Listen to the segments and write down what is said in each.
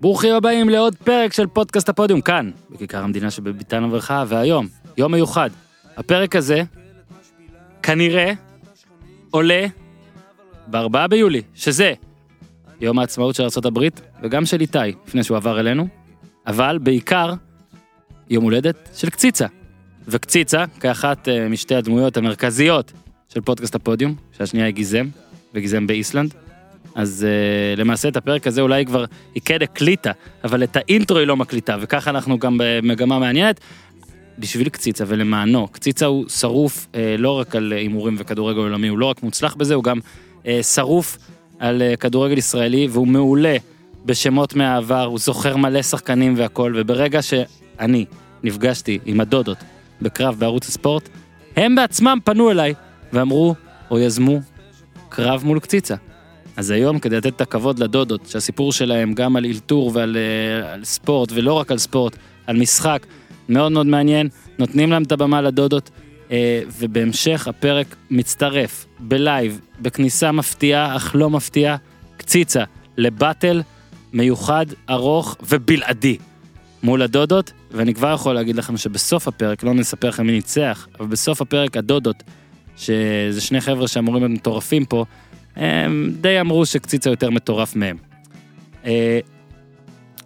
ברוכים הבאים לעוד פרק של פודקאסט הפודיום, כאן, בכיכר המדינה שבביתן וברכה, והיום, יום מיוחד. הפרק הזה, כנראה, עולה ב-4 ביולי, שזה יום העצמאות של ארה"ב, וגם של איתי, לפני שהוא עבר אלינו, אבל בעיקר, יום הולדת של קציצה. וקציצה, כאחת אה, משתי הדמויות המרכזיות של פודקאסט הפודיום, שהשנייה היא גיזם, וגיזם באיסלנד. אז uh, למעשה את הפרק הזה אולי כבר היא כן הקליטה, אבל את האינטרו היא לא מקליטה, וככה אנחנו גם במגמה מעניינת. בשביל קציצה ולמענו, קציצה הוא שרוף אה, לא רק על הימורים וכדורגל עולמי, הוא לא רק מוצלח בזה, הוא גם אה, שרוף על אה, כדורגל ישראלי, והוא מעולה בשמות מהעבר, הוא זוכר מלא שחקנים והכול, וברגע שאני נפגשתי עם הדודות בקרב בערוץ הספורט, הם בעצמם פנו אליי ואמרו, או יזמו, קרב מול קציצה. אז היום, כדי לתת את הכבוד לדודות, שהסיפור שלהם גם על אלתור ועל אה, על ספורט, ולא רק על ספורט, על משחק, מאוד מאוד מעניין, נותנים להם את הבמה לדודות, אה, ובהמשך הפרק מצטרף בלייב, בכניסה מפתיעה, אך לא מפתיעה, קציצה, לבאטל מיוחד, ארוך ובלעדי מול הדודות, ואני כבר יכול להגיד לכם שבסוף הפרק, לא נספר לכם מי ניצח, אבל בסוף הפרק הדודות, שזה שני חבר'ה שאמורים להיות מטורפים פה, הם די אמרו שקציצה יותר מטורף מהם. אה,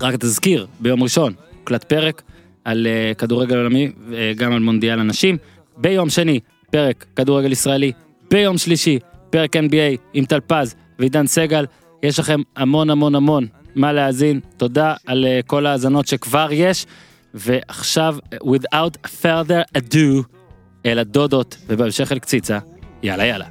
רק תזכיר, ביום ראשון, הוקלט פרק על אה, כדורגל עולמי, אה, גם על מונדיאל הנשים. ביום שני, פרק כדורגל ישראלי. ביום שלישי, פרק NBA עם טל פז ועידן סגל. יש לכם המון המון המון מה להאזין. תודה על אה, כל ההאזנות שכבר יש. ועכשיו, אה, without further ado, אל הדודות, ובהמשך אל קציצה. יאללה יאללה.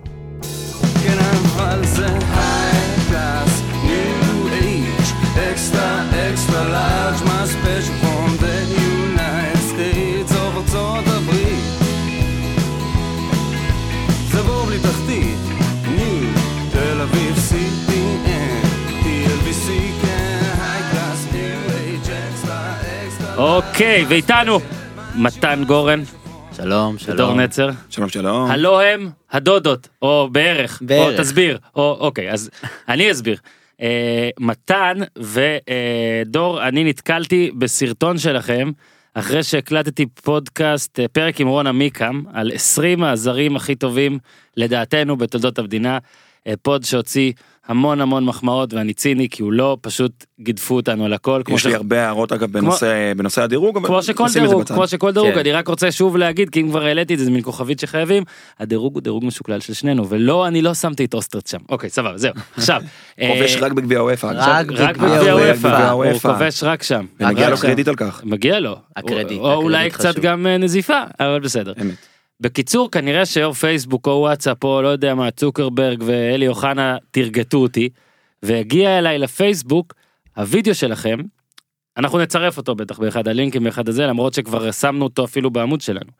כן, אבל זה high class, new age, extra, extra large, my special from the United States of ארצות הברית. זה בור בלי תחתית, new, תל אביב, CPN, TLBC, כן, high class, new age, extra, extra אוקיי, ואיתנו מתן גורן, שלום, שלום. דור נצר. שלום שלום. הלא הם הדודות, או בערך, בערך. או תסביר, או אוקיי, אז אני אסביר. אה, מתן ודור, אני נתקלתי בסרטון שלכם, אחרי שהקלטתי פודקאסט, אה, פרק עם רונה מיקם, על 20 הזרים הכי טובים לדעתנו בתולדות המדינה. אה, פוד שהוציא המון המון מחמאות, ואני ציני, כי הוא לא, פשוט גידפו אותנו על הכל. כמו יש לי ש- הרבה הערות אגב בנושא בנושא הדירוג אבל כמו שכל נשים את זה דירוג, בצד. כמו שכל דירוג, כן. אני רק רוצה שוב להגיד, כי אם כבר העליתי את זה, זה מין כוכבית שחייבים, הדירוג הוא דירוג משוקלל של שנינו, ולא, אני לא שמתי את אוסטרט שם. אוקיי, סבבה, זהו. עכשיו, אה, כובש רק בגביע הוופא. רק רק בגביע בגביע הוופא. וופא, הוא וופא. כובש רק שם. ומגיע לו עכשיו. קרדיט על כך. מגיע לו. הקרדיט, או או אולי הקרדיט קצת חשוב. גם אה, נזיפה, אבל בסדר. אמת. בקיצור, כנראה שיו"ר פייסבוק או וואטסאפ או לא יודע מה, צוקרברג ואלי אוחנה תרגטו אותי, והגיע אליי לפייסבוק הוידאו שלכם, אנחנו נצרף אותו בטח באחד הלינקים באחד הזה, למרות שכבר שמנו אותו אפילו בעמוד שלנו.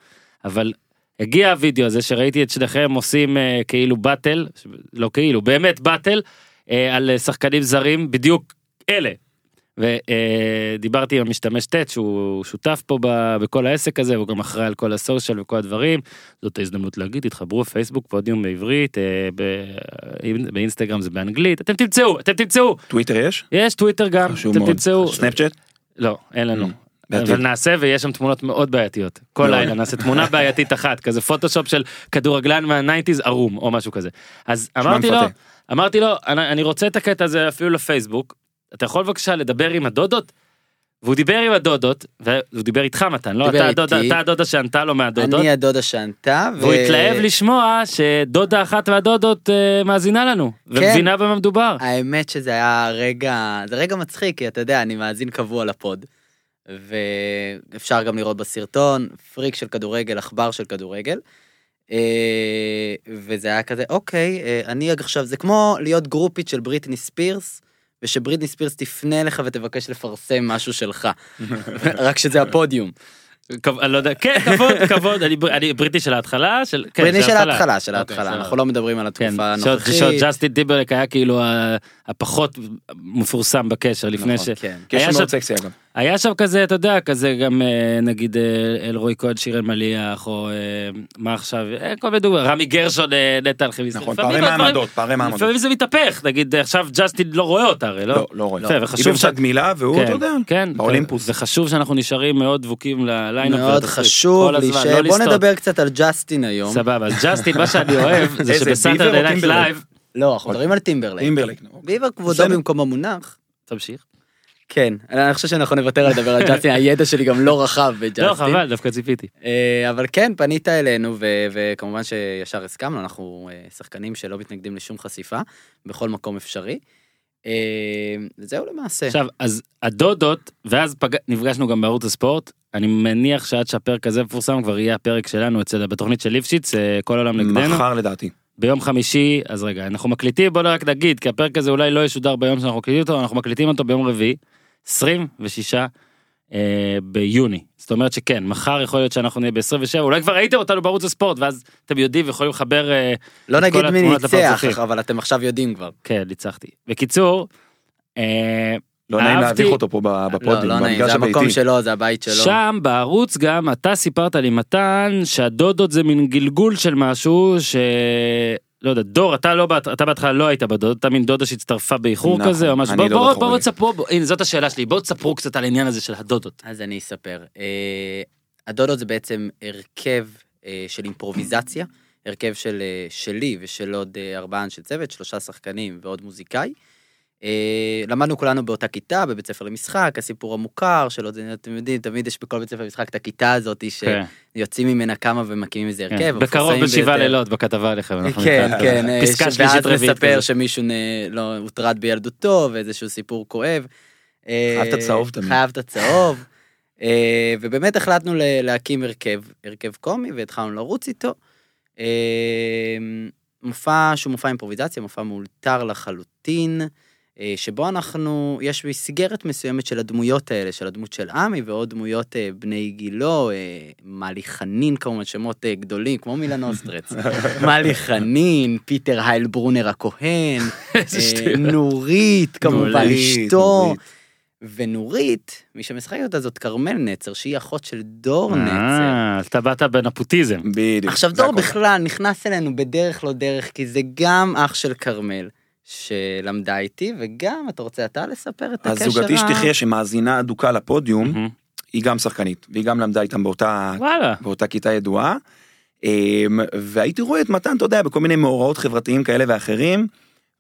אבל הגיע הוידאו הזה שראיתי את שניכם עושים אה, כאילו באטל, ש- לא כאילו, באמת באטל, אה, על אה, שחקנים זרים, בדיוק אלה. ודיברתי עם המשתמש טט שהוא שותף פה ב- בכל העסק הזה, הוא גם אחראי על כל הסושיאל וכל הדברים. זאת ההזדמנות להגיד, תתחברו פייסבוק, פודיום בעברית, אה, ב- באינסטגרם זה באנגלית, אתם תמצאו, אתם תמצאו, טוויטר יש? יש טוויטר גם, חשוב אה, אתם מאוד. תמצאו, סנאפצ'אט? Mm. לא, אין לנו. בעתיד. אבל נעשה ויש שם תמונות מאוד בעייתיות. כל מאוד. לילה נעשה תמונה בעייתית אחת, כזה פוטושופ של כדורגלן מהניינטיז ערום או משהו כזה. אז אמרתי לו, מפתה. אמרתי לו, אני אני רוצה את הקטע הזה אפילו לפייסבוק, אתה יכול בבקשה לדבר עם הדודות? והוא דיבר עם הדודות, והוא דיבר איתך מתן, לא? דיבר אתה איתי. הדודה- אתה הדודה שענתה לו מהדודות, אני הדודה שענתה. ו- והוא התלהב לשמוע שדודה אחת מהדודות אה, מאזינה לנו, כן. ומבינה במה מדובר. האמת שזה היה רגע, זה רגע מצחיק, כי אתה יודע, אני מאזין קבוע לפוד. ואפשר גם לראות בסרטון, פריק של כדורגל, עכבר של כדורגל. אה, וזה היה כזה, אוקיי, אה, אני עכשיו, זה כמו להיות גרופית של בריטני ספירס, ושבריטני ספירס תפנה אליך ותבקש לפרסם משהו שלך. רק שזה הפודיום. כב- אני לא יודע, כן, כבוד, כבוד, אני בר- אני בריטי של ההתחלה, של... כן, בריטני של ההתחלה. ההתחלה, של אוקיי, ההתחלה, סבבה. אנחנו לא מדברים על כן, התקופה שעוד- הנוכחית. שעוד ג'סטין טיברלק היה כאילו ה- הפחות מפורסם בקשר לפני ש... נכון, כן. כי יש היה שם שם- מאוד סקסי אגב. היה שם כזה, אתה יודע, כזה גם אה, נגיד אה, אלרועי כהן, שיר אלמליח, או אה, מה עכשיו, אה, כל מיני דוגמאות, רמי גרשון, אה, נטע אלחמיס. נכון, לפעמים פערי הדברים- מעמדות, פערי מעמדות. לפעמים זה מתפתח, נגיד עכשיו ג'סטין לא רואה אותה הרי, לא, לא? לא רואה. יפה, וחשוב היא ש- באמצע גמילה, והוא, אתה יודע, כן, באולימפוס. זה חשוב שאנחנו נשארים מאוד דבוקים לליינאפ. מאוד ולתסריט. חשוב כל הזמן, להישאר. לא בוא לסטות. נדבר קצת על ג'סטין היום. סבבה, אז ג'סטין, מה שאני אוהב, זה איזה שבסאטרדי ביבר או נייט טימברלייק? לייב, לא, אנחנו מדברים על טימברליין. אימברליק. ביבר כבודו בסדר. במקום המונח. תמשיך. כן, אני חושב שאנחנו נוותר על לדבר על ג'סטין, הידע שלי גם לא רחב בג'סטין. לא, חבל, דווקא ציפיתי. אה, אבל כן, פנית אלינו, ו- וכמובן שישר הסכמנו, אנחנו אה, שחקנים שלא מתנגדים לשום חשיפה, בכל מקום אפשרי. אה, וזהו למעשה. עכשיו, אז הדודות, ואז פג... נפגשנו גם בערוץ הספורט, אני מניח שעד שהפרק הזה מפורסם כבר יהיה הפרק שלנו אצל, בתוכנית של ליפשיץ, אה, כל העולם נכון. נגדנו. מחר לדעתי. ביום חמישי, אז רגע, אנחנו מקליטים, בוא רק נגיד, כי הפרק הזה אולי לא ישודר ביום שאנחנו מקליטים אותו, אנחנו מקליטים אותו ביום רביעי, 26 אה, ביוני. זאת אומרת שכן, מחר יכול להיות שאנחנו נהיה ב-27, אולי כבר ראיתם אותנו בערוץ הספורט, ואז אתם יודעים ויכולים לחבר... אה, לא את כל נגיד מי התמונות ניצח, לפרצופים. אבל אתם עכשיו יודעים כבר. כן, ניצחתי. בקיצור, אה, לא נעים אהבתי. להביך אותו פה ב- לא, בפודים, לא נעים, במגרש זה המקום הביתי. שלו, זה הבית שלו. שם בערוץ גם אתה סיפרת לי מתן שהדודות זה מין גלגול של משהו ש... לא יודע, דור, אתה לא, בהת- אתה בהתחלה לא היית בדוד, אתה מין דודה שהצטרפה באיחור נכון, כזה או משהו, אני בואו דוד בוא, אחורי. בוא, תספרו, בוא, הנה זאת השאלה שלי, בואו תספרו קצת על העניין הזה של הדודות. אז אני אספר. אה, הדודות זה בעצם הרכב אה, של אימפרוביזציה, הרכב של, אה, שלי ושל עוד אה, ארבעה אנשי צוות, שלושה שחקנים ועוד מוזיקאי. אה, למדנו כולנו באותה כיתה, בבית ספר למשחק, הסיפור המוכר שלו, זה- אתם יודעים, תמיד יש בכל בית ספר למשחק את הכיתה הזאת כן, שיוצאים ממנה כמה ומקימים איזה כן. הרכב. בקרוב המפורסמים בשבעה ביותר. לילות בכתבה עליכם. אנחנו כן, נתראה. כן, אה, פסקה ש- שלישית ואז רביעית. מספר כזה. שמישהו נ- לא הוטרד בילדותו ואיזשהו סיפור כואב. אה, חייב את הצהוב תמיד. חייב את הצהוב. אה, ובאמת החלטנו ל- להקים הרכב, הרכב קומי, והתחלנו לרוץ איתו. אה, מופע שהוא מופע אימפרוביזציה, מופע מאולתר לחלוטין, אה, שבו אנחנו, יש מסגרת מסוימת של הדמויות האלה, של הדמות של עמי ועוד דמויות אה, בני גילו, אה, מאלי חנין כמובן, שמות אה, גדולים, כמו מילה נוסטרץ. מאלי חנין, פיטר הייל ברונר הכהן, איזה אה, שטויות. נורית כמובן, נורית, אשתו. נורית. ונורית, מי שמשחקת אותה זאת כרמל נצר, שהיא אחות של דור נצר. אה, אז אתה באת בנפוטיזם. בדיוק. עכשיו זה דור הכל. בכלל נכנס אלינו בדרך לא דרך, כי זה גם אח של כרמל שלמדה איתי, וגם, אתה רוצה אתה לספר את הקשר? אז זוגתי ה- שתחיה שמאזינה אדוקה לפודיום, מהמם. היא גם שחקנית, והיא גם למדה איתם באותה וואלה. באותה כיתה ידועה. אמ, והייתי רואה את מתן, אתה יודע, בכל מיני מאורעות חברתיים כאלה ואחרים,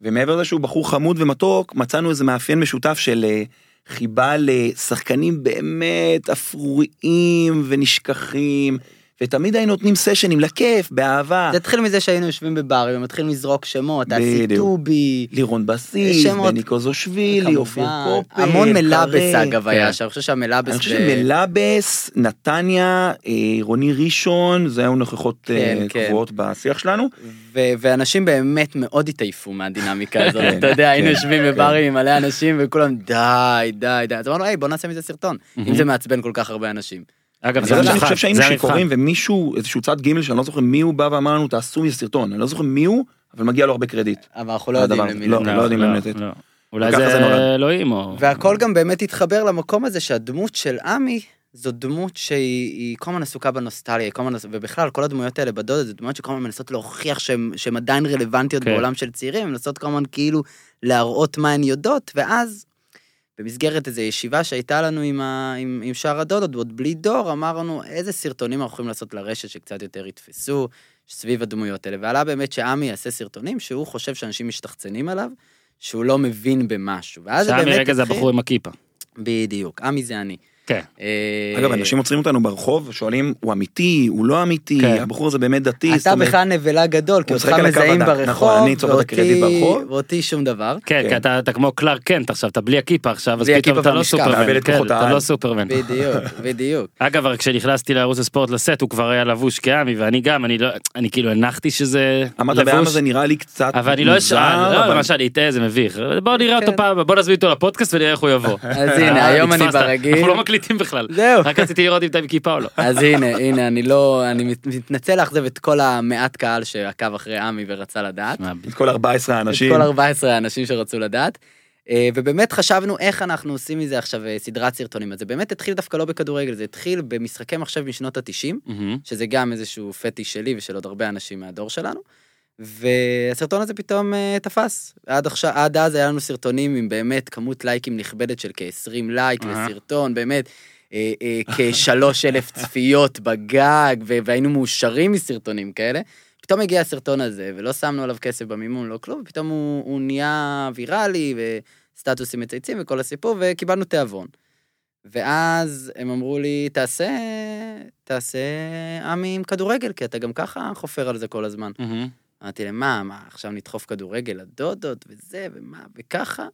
ומעבר לזה שהוא בחור חמוד ומתוק, מצאנו איזה מאפיין משותף של אה, חיבה לשחקנים באמת אפרוריים ונשכחים, ותמיד היינו נותנים סשנים לכיף, באהבה. זה התחיל מזה שהיינו יושבים בברים, הם התחילו לזרוק שמות, אסי בדיוק. טובי, לירון בסיס, שמות. בני קוזושווילי, אופיר כמובן. קופר, המון מלאבס קרן. אגב היה כן. שם, אני חושב שהמלאבס... אני חושב ב- שמלאבס, נתניה, אה, רוני ראשון, זה היו נוכחות אה, כן, כן. קבועות בשיח שלנו. ו- ואנשים באמת מאוד התעייפו מהדינמיקה הזאת, כן, אתה יודע, היינו כן, יושבים כן. בברים עם מלא אנשים וכולם די, די, די, אז אמרנו, היי, בוא נעשה מזה סרטון, אם זה מעצבן כל כך הרבה אנשים. אגב, כן, זה אבל אני המבחן, חושב שהיינו זה המבחן. שיכורים ומישהו איזשהו צד ג' שאני לא זוכר מי הוא בא ואמר לנו תעשו מזה סרטון אני לא זוכר מי הוא אבל מגיע לו הרבה קרדיט. אבל אנחנו לא יודעים הדבר הזה. למי לא, לתת. לא יודעים למי לתת. לא. אולי וככה זה נולד. זה אלוהים או... והכל גם באמת התחבר למקום הזה שהדמות של עמי זו דמות שהיא היא כל הזמן עסוקה בנוסטליה, היא כל הזמן, עס- ובכלל כל הדמויות האלה בדודות זה דמויות שכל הזמן מנסות להוכיח שהן שהן עדיין רלוונטיות כן. בעולם של צעירים, הן מנסות כל הזמן כאילו להראות מה הן יודעות, ואז במסגרת איזו ישיבה שהייתה לנו עם, ה, עם, עם שאר הדודות, עוד בלי דור, אמרנו איזה סרטונים אנחנו יכולים לעשות לרשת שקצת יותר יתפסו סביב הדמויות האלה, ועלה באמת שעמי יעשה סרטונים שהוא חושב שאנשים משתחצנים עליו. שהוא לא מבין במשהו, ואז זה שם באמת מרגע זה התחיל- הבחור עם הכיפה. בדיוק, עמי זה אני. כן. אה, אגב אנשים עוצרים אותנו ברחוב ושואלים הוא אמיתי הוא לא אמיתי כן. הבחור הזה באמת דתי. זאת אתה אומרת, בכלל נבלה גדול, כי הוא אותך משחק על הקו מזהים הדק, ברחוב, נכון, אני צובר את ואותי- הקרדיט ברחוב. ואותי שום דבר. כן, כי כן. אתה, אתה כמו קלאר קנט עכשיו, אתה בלי הכיפה עכשיו, אז בלי פתאום הכיפה אתה לא והמשקף. סופרמן. מאבד את כן, כוחות אתה העל. לא סופרמן. בדיוק, בדיוק. אגב, אבל כשנכנסתי לערוץ הספורט לסט, הוא כבר היה לבוש כעמי, ואני גם, אני לא, אני כאילו הנחתי שזה אמרת בעם לבוש, הזה נראה לי קצת אבל אני לא אשאל, מוזר, לא, אבל- מה שאני אטעה זה מביך. בואו נראה אותו כן. פעם, הבא, בואו נזמין אותו לפודקאסט ונראה איך הוא יבוא. אז אה, הנה, היום אני נתפסת. ברגיל. אנחנו לא מקליטים בכלל. זהו. רק רציתי לראות אם אתה עם כיפה או לא. אז הנה, הנה, אני לא, אני מת- מתנצל לאכזב את כל המעט קהל שעקב אחרי עמי ורצה לדעת. מה, את כל 14 את האנשים. כל 14 האנשים שרצו לדעת. אה, אה, ובאמת חשבנו איך אנחנו עושים מזה עכשיו אה, סדרת סרטונים. אז זה באמת התחיל דווקא לא בכדורגל, זה התחיל במשחקי מחשב משנות ה-90, מהמם. שזה גם איזשהו פטיש שלי ושל עוד הרבה אנשים מהדור שלנו. והסרטון הזה פתאום אה, תפס. עד, עכשיו, עד אז היה לנו סרטונים עם באמת כמות לייקים נכבדת של כ-20 לייק אהה. לסרטון, באמת אה, אה, כ-3 אלף צפיות בגג, ו- והיינו מאושרים מסרטונים כאלה. פתאום הגיע הסרטון הזה, ולא שמנו עליו כסף במימון, לא כלום, ופתאום הוא, הוא נהיה ויראלי, וסטטוסים מצייצים וכל הסיפור, וקיבלנו תיאבון. ואז הם אמרו לי, תעשה, תעשה עמי עם כדורגל, כי אתה גם ככה חופר על זה כל הזמן. מהמם. אמרתי להם, מה, מה, עכשיו נדחוף כדורגל לדודות וזה ומה וככה?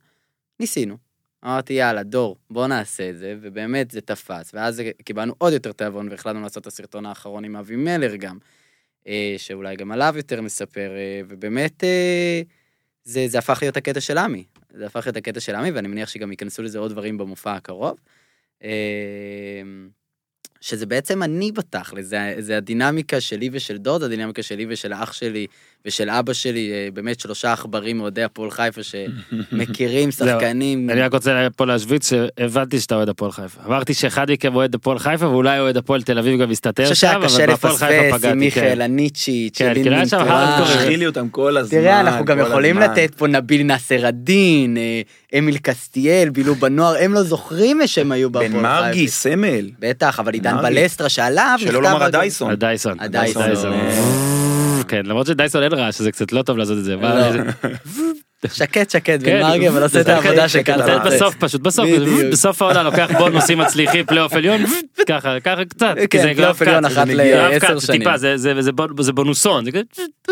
ניסינו. אמרתי, יאללה, דור, בוא נעשה את זה, ובאמת זה תפס. ואז קיבלנו עוד יותר תיאבון והחלטנו לעשות את הסרטון האחרון עם אבי מלר גם, אה, שאולי גם עליו יותר נספר, אה, ובאמת אה, זה, זה הפך להיות הקטע של עמי. זה הפך להיות הקטע של עמי, ואני מניח שגם ייכנסו לזה עוד דברים במופע הקרוב. אה, שזה בעצם אני בתכל'ס, זה, זה הדינמיקה שלי ושל דוד, הדינמיקה שלי ושל האח שלי ושל אבר שלי, אה, באמת שלושה עכברים אוהדי הפועל חיפה שמכירים שחקנים. אני רק רוצה פה להשוויץ שהבנתי שאתה אוהד הפועל חיפה. אמרתי שאחד מכם אוהד הפועל חיפה ואולי אוהד הפועל תל אביב גם אני מסתתר חושב שם, שהיה אבל קשה בהפועל חיפה לפספס עם פגעתי. כן. מיכאל הניצ'יץ', כן, של כי לא היה שם הארדקורים. אינטואר. תשחילי אותם כל הזמן. תראה, אנחנו גם כל יכולים הזמן. לתת פה נביל נאסר א-דין, אה, אמיל קסטיאל, בילו בנוער, הם לא זוכרים שהם היו בהפועל בן חיפה. מרגי, סמל. בטח, אבל עידן מרגי. בלסטרה שעליו שלא לומר אגב- הדייסון. הדייסון. הדייסון. כן, למרות שדייסון אין רעש, שזה קצת לא טוב לעשות את זה. אבל- אה. לא. שקט שקט כן, בן מרגי, אבל עושה את זה העבודה שקט, שקל. שקט, קצת אבל- בסוף פשוט, בסוף, בדיוק. בסוף העונה לוקח בונוסים מצליחים, פלייאוף עליון, ככה, ככה קצת. כן, כי זה פלייאוף גרף עליון קאט, אחת זה נגיעה. לעשר גרף קאט, זה שנים. טיפה, זה- זה- זה בונ- זה בונוסון, זה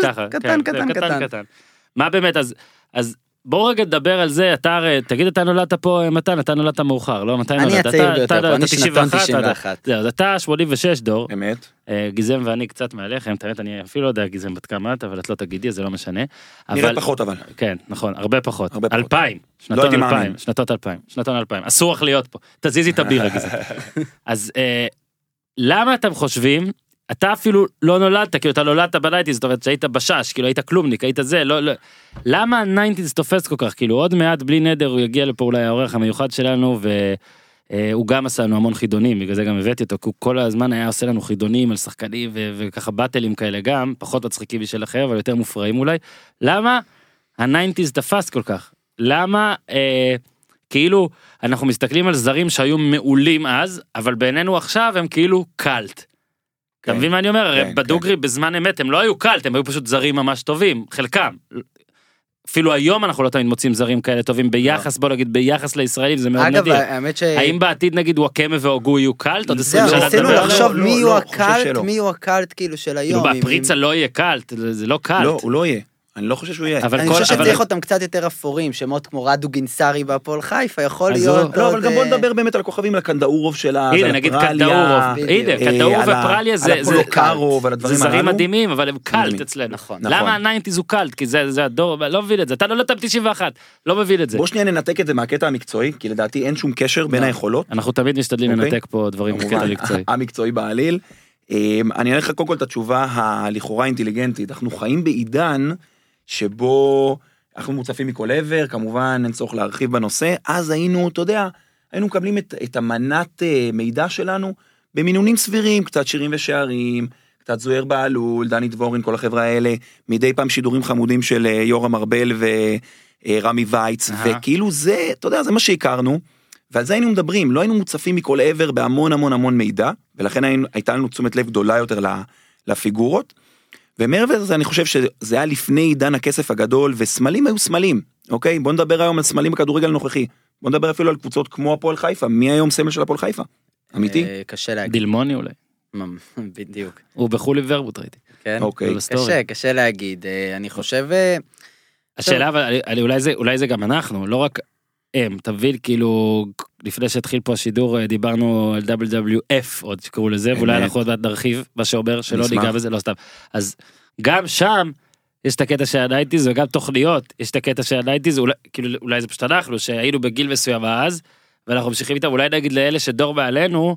ככה. קטן, כן, קטן, זה קטן. מה באמת, אז- אז בואו רגע נדבר על זה, אתה הרי, תגיד אתה נולדת פה, אה, מתן, אתה נולדת מאוחר, לא? מתי נולדת? אני הצעיר אתה- ביותר אתה- פה, אתה אני שנתון 91, אתה- כן. 91. זהו, אז אתה 86 דור, אמת. אה, גיזם ואני קצת מעליכם, את האמת, אני אפילו לא יודע גיזם בת כמה את, אבל את לא תגידי, אז זה לא משנה. נראה אבל- פחות אבל. כן, נכון, הרבה פחות. הרבה פחות. לא אלפיים. שנתון הייתי אלפיים, מאמין. שנתון אלפיים, שנתון אלפיים. אסור לך להיות פה. תזיזי את הבירה גזעית. אז אה, למה אתם חושבים, אתה אפילו לא נולדת, כאילו אתה נולדת בנייטיז, זאת אומרת שהיית בשש, כאילו היית כלומניק, היית זה, לא, לא. למה הניינטיז תופס כל כך, כאילו עוד מעט בלי נדר הוא יגיע לפה אולי העורך המיוחד שלנו, ו... אה, הוא גם עשה לנו המון חידונים, בגלל זה גם הבאתי אותו, כי הוא כל הזמן היה עושה לנו חידונים על שחקנים ו- וככה באטלים כאלה גם, פחות מצחיקים משלכם, אבל יותר מופרעים אולי. למה הניינטיז תפס כל כך? למה אה, כאילו אנחנו מסתכלים על זרים שהיו מעולים אז, אבל בעינינו עכשיו הם כאילו קאלט. אתה כן. מבין מה אני אומר? הרי כן, בדוגרי בזמן אמת הם לא היו קאלט, הם היו פשוט זרים ממש טובים, חלקם. אפילו היום אנחנו לא תמיד מוצאים זרים כאלה טובים לא. ביחס, בוא נגיד, ביחס לישראלים, זה מאוד אגב, נדיר. אה, האמת ש... האם בעתיד נגיד וואקמה והוגו יהיו קאלט? עוד 20 זהו, שנה ניסינו נדבר לא, עליהם? לחשוב לא, מי לא, יהיו לא, חושב הקאלט, שלא. מי יהיו הקאלט כאילו של כאילו היום. אם- בפריצה לא יהיה קאלט, זה זה לא לא, קאלט. הוא לא יהיה. אני לא חושב שהוא יהיה. אבל אני כל- חושב אבל- שצריך אותם קצת יותר אפורים, שמות כמו רדו גינסארי והפועל חיפה, יכול אז להיות... לא, לא, עוד, אבל גם בוא אה, נדבר באמת על הכוכבים, על הקנדאורוב שלה, הנה, נגיד קנדאורוב, אה, הנה, בדיוק. אה, קנדאורוב ופרליה זה... זה- פולוקרו ועל זה הדברים הללו. זרים מדהימים, אבל הם קאלט מדהימים. אצלנו. נכון. למה נכון. הניינטיז הוא קאלט? כי זה זה הדור, לא מבין את זה. אתה נולדת ב-91, לא מבין את זה. בוא שנייה ננתק את זה מהקטע המקצועי, כי לדעתי אין שום קשר לא. בין היכולות. אנחנו תמיד משתדלים אוקיי. לנתק פה דברים בקטע כמובן, אוקיי. מקצועי. המקצועי בעליל. אמ, אני אענה לך קודם כל את התשובה הלכאורה אינטליגנטית. אנחנו חיים בעידן שבו אנחנו מוצפים מכל עבר, כמובן אין צורך להרחיב בנושא, אז היינו, אתה יודע, היינו מקבלים את, את המנת אה, מידע שלנו במינונים סבירים, קצת שירים ושערים, קצת זוהיר בהלול, דני דבורין, כל החברה האלה, מדי פעם שידורים חמודים של אה, יורם ארבל ורמי וייץ, אהה. וכאילו זה, אתה יודע, זה מה שהכרנו. ועל זה היינו מדברים, לא היינו מוצפים מכל עבר בהמון המון המון מידע, ולכן היינו, הייתה לנו תשומת לב גדולה יותר ל- לפיגורות. ומעבר לזה אני חושב שזה היה לפני עידן הכסף הגדול, וסמלים היו סמלים, אוקיי? בוא נדבר היום על סמלים בכדורגל הנוכחי. בוא נדבר אפילו על קבוצות כמו הפועל חיפה, מי היום סמל של הפועל חיפה? אמיתי? אה, קשה להגיד. דילמוני אולי. ממ- בדיוק. הוא בחולי ורבוט ראיתי. כן? אוקיי. בסטורי. קשה, קשה להגיד. אה, אני חושב... אה, השאלה אבל אני- אני- אולי זה אולי זה גם אנחנו לא רק הם אתה מבין כאילו לפני שהתחיל פה השידור אה, דיברנו על WWF עוד שקראו לזה ואולי אמת. אנחנו עוד מעט נרחיב מה שאומר שלא נשמח. ניגע בזה לא סתם אז גם שם. יש את הקטע של הנייטיז וגם תוכניות יש את הקטע של הנייטיז אולי כאילו אולי זה פשוט אנחנו שהיינו בגיל מסוים אז ואנחנו ממשיכים איתם אולי נגיד לאלה שדור מעלינו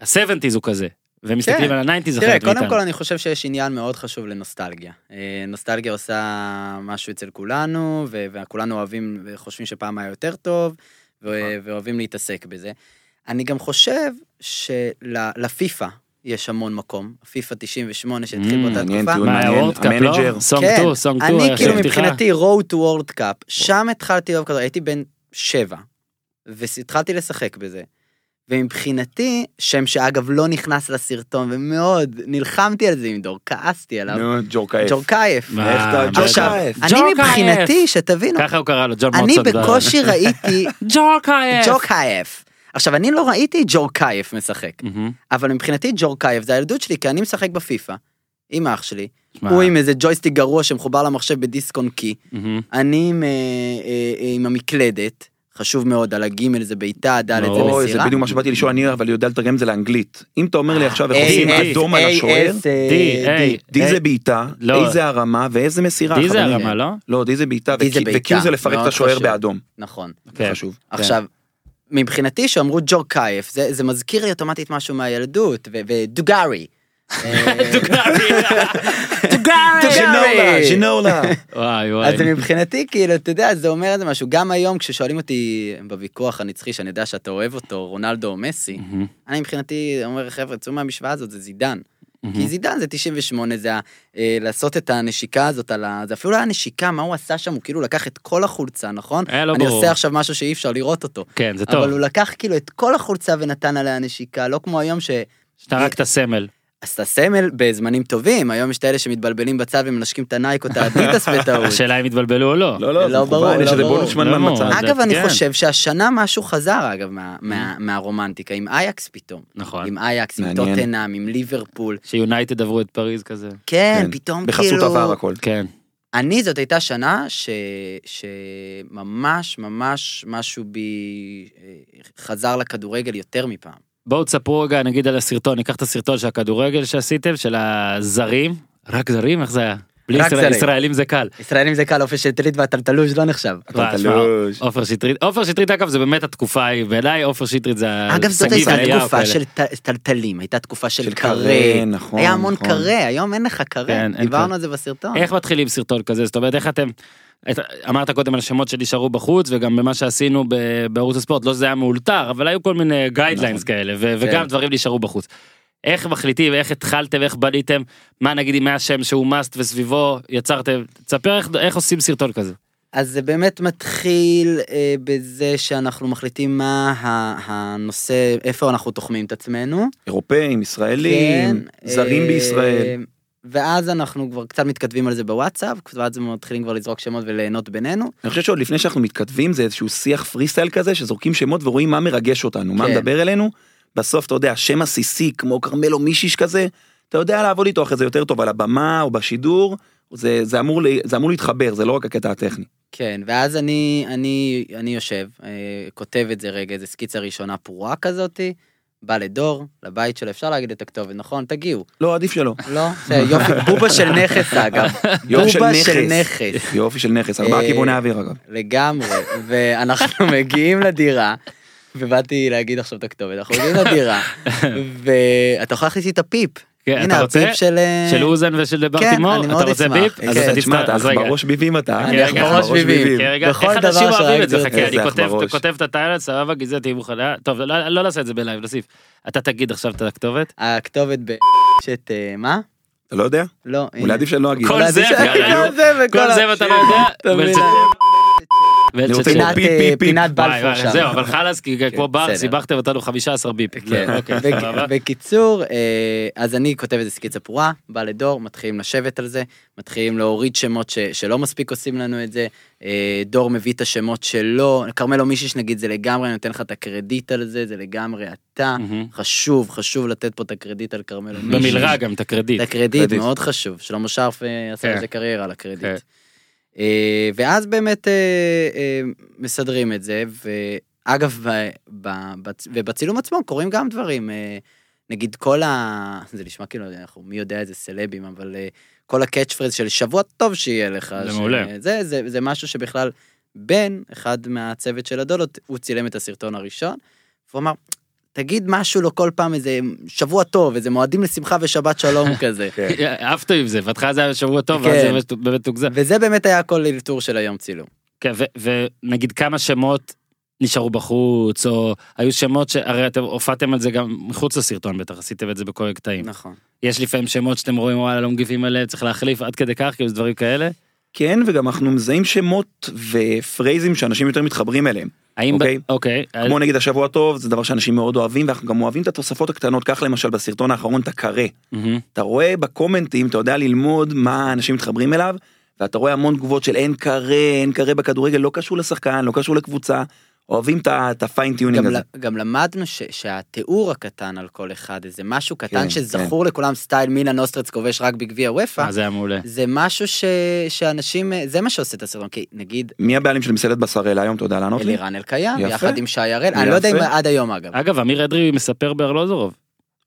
ה-70's הוא כזה והם מסתכלים כן. על הניינטיז תראה, אחרת קודם כל מאיתנו. אני חושב שיש עניין מאוד חשוב לנוסטלגיה. אה, נוסטלגיה עושה משהו אצל כולנו, ו- וכולנו אוהבים וחושבים שפעם היה יותר טוב, ו- נכון. ואוהבים להתעסק בזה. אני גם חושב שלפיפא יש המון מקום, פיפא 98 שהתחיל Mm, באותה מעניין, תקופה. טיעון מה, היה מעניין, וורד קאפ, המנג'ר. לא? סונג כן, 2, סונג 2, אני כאילו מבחינתי road to world cup, שם התחלתי לאהוב כדורגל, הייתי בן שבע, והתחלתי לשחק בזה. ומבחינתי, שם שאגב לא נכנס לסרטון, ומאוד נלחמתי על זה עם דור, כעסתי עליו, נו, ג'ורקאייף. ג'ורקייף. מה, איך אתה- אה, מה, ג'ורקאייף. אני ג'ורקייף. מבחינתי, שתבינו, ככה הוא קרא לו, ג'ון לא. אני מוטסון. בקושי ראיתי ג'ורקאייף. ג'ורקייף. עכשיו, אני לא ראיתי ג'ורקייף משחק, מהמם. אבל מבחינתי ג'ורקייף זה הילדות שלי, כי אני משחק בפיפא, עם אח שלי, שמע, הוא עם איזה ג'ויסטיק גרוע שמחובר למחשב בדיסק און קי. מהמם. אני עם, אה, אה, אה, עם המקלדת, חשוב מאוד, על הגימל זה בעיטה, הדלת זה מסירה. ברור, אוי, זה בדיוק מה שבאתי לשאול, אני אבל יודע לתרגם את זה לאנגלית. אם אתה אומר לי עכשיו איך A, עושים S, אדום על A, השוער, S, אה, D, A. D אה, זה בעיטה, לא. A זה הרמה ואיזה מסירה. D זה חברים. הרמה, לא? לא, D זה בעיטה, D זה ו-Q- בעיטה, ו-Q זה לפרק את מאוד השוער חשוב. באדום. נכון. כן. זה חשוב. עכשיו, מבחינתי שאמרו ג'ורקייף, זה, זה מזכיר לי אוטומטית משהו מהילדות, ו- ודוגרי. אה, דוגרי. ג'ינולה, ג'ינולה, ג'ינולה. וואי וואי. אז זה מבחינתי, כאילו, אתה יודע, זה אומר איזה משהו. גם היום, כששואלים אותי בוויכוח הנצחי, שאני יודע שאתה אוהב אותו, רונלדו או מסי, מהמם. אני מבחינתי אומר, חבר'ה, צאו מהמשוואה הזאת, זה זידן. מהמם. כי זידן זה 98, זה ה- אה, לעשות את הנשיקה הזאת על ה... זה אפילו לא היה נשיקה, מה הוא עשה שם? הוא כאילו לקח את כל החולצה, נכון? היה לא אני ברור. עושה עכשיו משהו שאי אפשר לראות אותו. כן, זה טוב. אבל הוא לקח כאילו את כל החולצה ונתן עליה נשיקה, לא כמו היום ש... שאתה רק את הסמל. אז אתה סמל בזמנים טובים, היום יש את אלה שמתבלבלים בצד ומנשקים את הנייקות, האדידס בטעות. השאלה אם יתבלבלו או לא. לא, לא, זה לא ברור, מכוון, יש לא איזה ברור. בונוס לא שמנמן ברור. מצד. אה, אגב, כן. אני חזר, שהשנה משהו חזר, אגב, מה- מה- מהרומנטיקה, עם אייקס פתאום. נכון. עם אייקס, עם מעניין. טוטנאם, עם ליברפול. שיונייטד עברו את פריז כזה. כן, כן, פתאום כאילו... בחסות עבר הכל. כן. אני, זאת הייתה שנה ש... שממש ממש משהו בי אה, חזר לכדורגל יותר מפעם. בואו תספרו רגע נגיד על הסרטון, ניקח את הסרטון של הכדורגל שעשיתם, של הזרים. רק זרים? איך זה היה? בלי רק ישראל- זרים. ישראלים זה קל. ישראלים זה קל, אופי שטרית והטלטלוז' לא נחשב. וואי, שמע, תלוש. עופר שטרית, עופר שטרית אגב זה באמת התקופה ההיא, בעיניי עופר שטרית זה אגב, זאת שגיב הייתה אליהו תקופה אה, כאלה. של ט- טלטלים, הייתה תקופה של של קרה. קרה, נכון, היה המון נכון. קרה, היום אין לך קרה. כן, אין דיברנו קרה. על זה בסרטון. איך מתחילים סרטון כזה? זאת אומרת, איך אתם... את- אמרת קודם על שמות שנשארו בחוץ וגם במה שעשינו ב- בערוץ הספורט לא שזה היה מאולתר אבל היו כל מיני גיידליינס כאלה ו- וגם נכון. כן. דברים נשארו בחוץ. איך מחליטים איך התחלתם איך בניתם מה נגיד אם היה שם שהוא מאסט וסביבו יצרתם תספר איך, איך עושים סרטון כזה. אז זה באמת מתחיל אה, בזה שאנחנו מחליטים מה ה- הנושא, איפה אנחנו תוחמים את עצמנו. אירופאים, ישראלים, כן, זרים אה, בישראל. ואז אנחנו כבר קצת מתכתבים על זה בוואטסאפ, ואז הם מתחילים כבר לזרוק שמות וליהנות בינינו. אני חושב שעוד לפני שאנחנו מתכתבים זה איזשהו שיח פרי סטייל כזה שזורקים שמות ורואים מה מרגש אותנו, מה כן. מדבר אלינו. בסוף אתה יודע, שם עסיסי כמו כרמלו מישיש כזה, אתה יודע לעבוד איתו אחרי זה יותר טוב על הבמה או בשידור, זה, זה, אמור, ל- זה אמור להתחבר, זה לא רק הקטע הטכני. כן, ואז אני, אני, אני יושב, אה, כותב את זה רגע, איזה סקיצה ראשונה פרועה כזאתי, בא לדור, לבית שלו, אפשר להגיד את הכתובת, נכון? תגיעו. לא, עדיף שלא. לא? זה יופי, בובה של נכס אגב. יופי של בובה נכס. של נכס. יופי של נכס, ארבעה אה, כיווני אוויר אגב. לגמרי, ואנחנו מגיעים לדירה, ובאתי להגיד עכשיו את הכתובת, אנחנו מגיעים לדירה, ואתה יכול להכניס לי את הפיפ. כן, הנה אתה רוצה? הפיפ של... אה, של אוזן ושל ברטימור אני מאוד אתה רוצה אשמח. ביפ? כן. אז אתה אתה תצטרך- אה, תשמע, אתה אז אח רגע. בראש ביבים אתה. אני אה? אח בראש ביבים. כן, רגע, בכל איך דבר אנשים אוהבים שרק את זה, גרתי. חכה, אני איזה אח כותב- בראש. כותב את הטיילנד, סבבה, גזעי תהיי מוכנה, טוב, לא לא נעשה את זה בלייב, נוסיף. אתה תגיד עכשיו את הכתובת. הכתובת ב... שאת... אה, מה? אתה לא יודע? לא, אולי עדיף שלא אגיד. כל אולי זה, עדיף ש- יאללה, כל נו. זה וכל כל זה ה- ואתה לא יודע? תמיד. ולצטט. אני רוצה ולצטט. פינת, לראות פיפ, אה, פיפ, פיפ. פינת וואי, בלפור וואי, שם. זהו, אבל חלאס, כי כמו בר, כן, בסדר. סיבכתם אותנו 15 ביפ. כן. לא, אוקיי, בק- סבבה. בקיצור, אה, אז אני כותב איזה סקיצה פרועה, בא לדור, מתחילים לשבת על זה, מתחילים להוריד שמות ש- שלא מספיק עושים לנו את זה, אה, דור מביא את השמות שלו, כרמלו מישיש נגיד זה לגמרי, אני נותן לך את הקרדיט על זה, זה לגמרי אתה, מהמם. חשוב, חשוב לתת פה את הקרדיט על כרמלו מישיש. במלרע גם, את את הקרדיט. הקרדיט, קרדיט. מאוד חשוב. שלמה שרף אה, כן. עשה איזה קריירה על הקרדיט. כן. אה, ואז באמת אה, אה, מסדרים את זה, ואגב, ב- ב- בצ- ובצילום עצמו קורים גם דברים. אה, נגיד כל ה... זה נשמע כאילו, אנחנו מי יודע איזה סלבים, אבל אה, כל הקאץ' פרז של שבוע טוב שיהיה לך. זה ש- מעולה. זה, זה, זה משהו שבכלל, בן, אחד מהצוות של הדולות, הוא צילם את הסרטון הראשון, והוא אמר, תגיד משהו לו כל פעם, איזה שבוע טוב, איזה מועדים לשמחה ושבת שלום כזה. כן. עפת עם זה, בהתחלה זה היה שבוע טוב, כן. ואז זה באמת- באמת תוגזם. וזה באמת היה כל אלתור של היום צילום. כן, ו- ונגיד כמה שמות נשארו בחוץ, או היו שמות שהרי אתם הופעתם על זה גם מחוץ לסרטון בטח, עשיתם את זה בכל כן. הקטעים. נכון. יש לפעמים שמות שאתם רואים וואלה לא מגיבים עליהם, צריך להחליף עד כדי כך, כאילו זה דברים כאלה. כן, וגם אנחנו מזהים שמות ופרייזים שאנשים יותר מתחברים אליהם. האם... ב- אוקיי. אוקיי. אז- כמו נגיד השבוע הטוב, זה דבר שאנשים מאוד אוהבים, ואנחנו גם אוהבים את התוספות הקטנות, כך למשל בסרטון האחרון, אתה קרא. מהמם. אתה רואה בקומנטים, אתה יודע ללמוד מה האנשים מתחברים אליו, ואתה רואה המון תגובות של אין קרא, אין קרא בכדורגל, לא קשור לשחקן, לא קשור לקבוצה, אוהבים את ה- את הפיינטיונינג גם, הזה. ל- גם למדנו ש, שהתיאור הקטן על כל אחד, איזה משהו קטן כן, שזכור לכולם, סטייל מילן אוסטרץ כובש רק בגביע וופא, אה, זה היה מעולה. זה משהו ש, שאנשים, אה, זה מה שעושה את הסרטון, כי נגיד מי הבעלים של מסעדת בשראל היום, אתה יודע לענות לי? אלירן אלקיים, אוקיי. יפה. יחד עם שי הראל, אני לא יודע אם יפה. אה, עד היום אגב, אגב, אמיר אדרי מספר בארלוזורוב.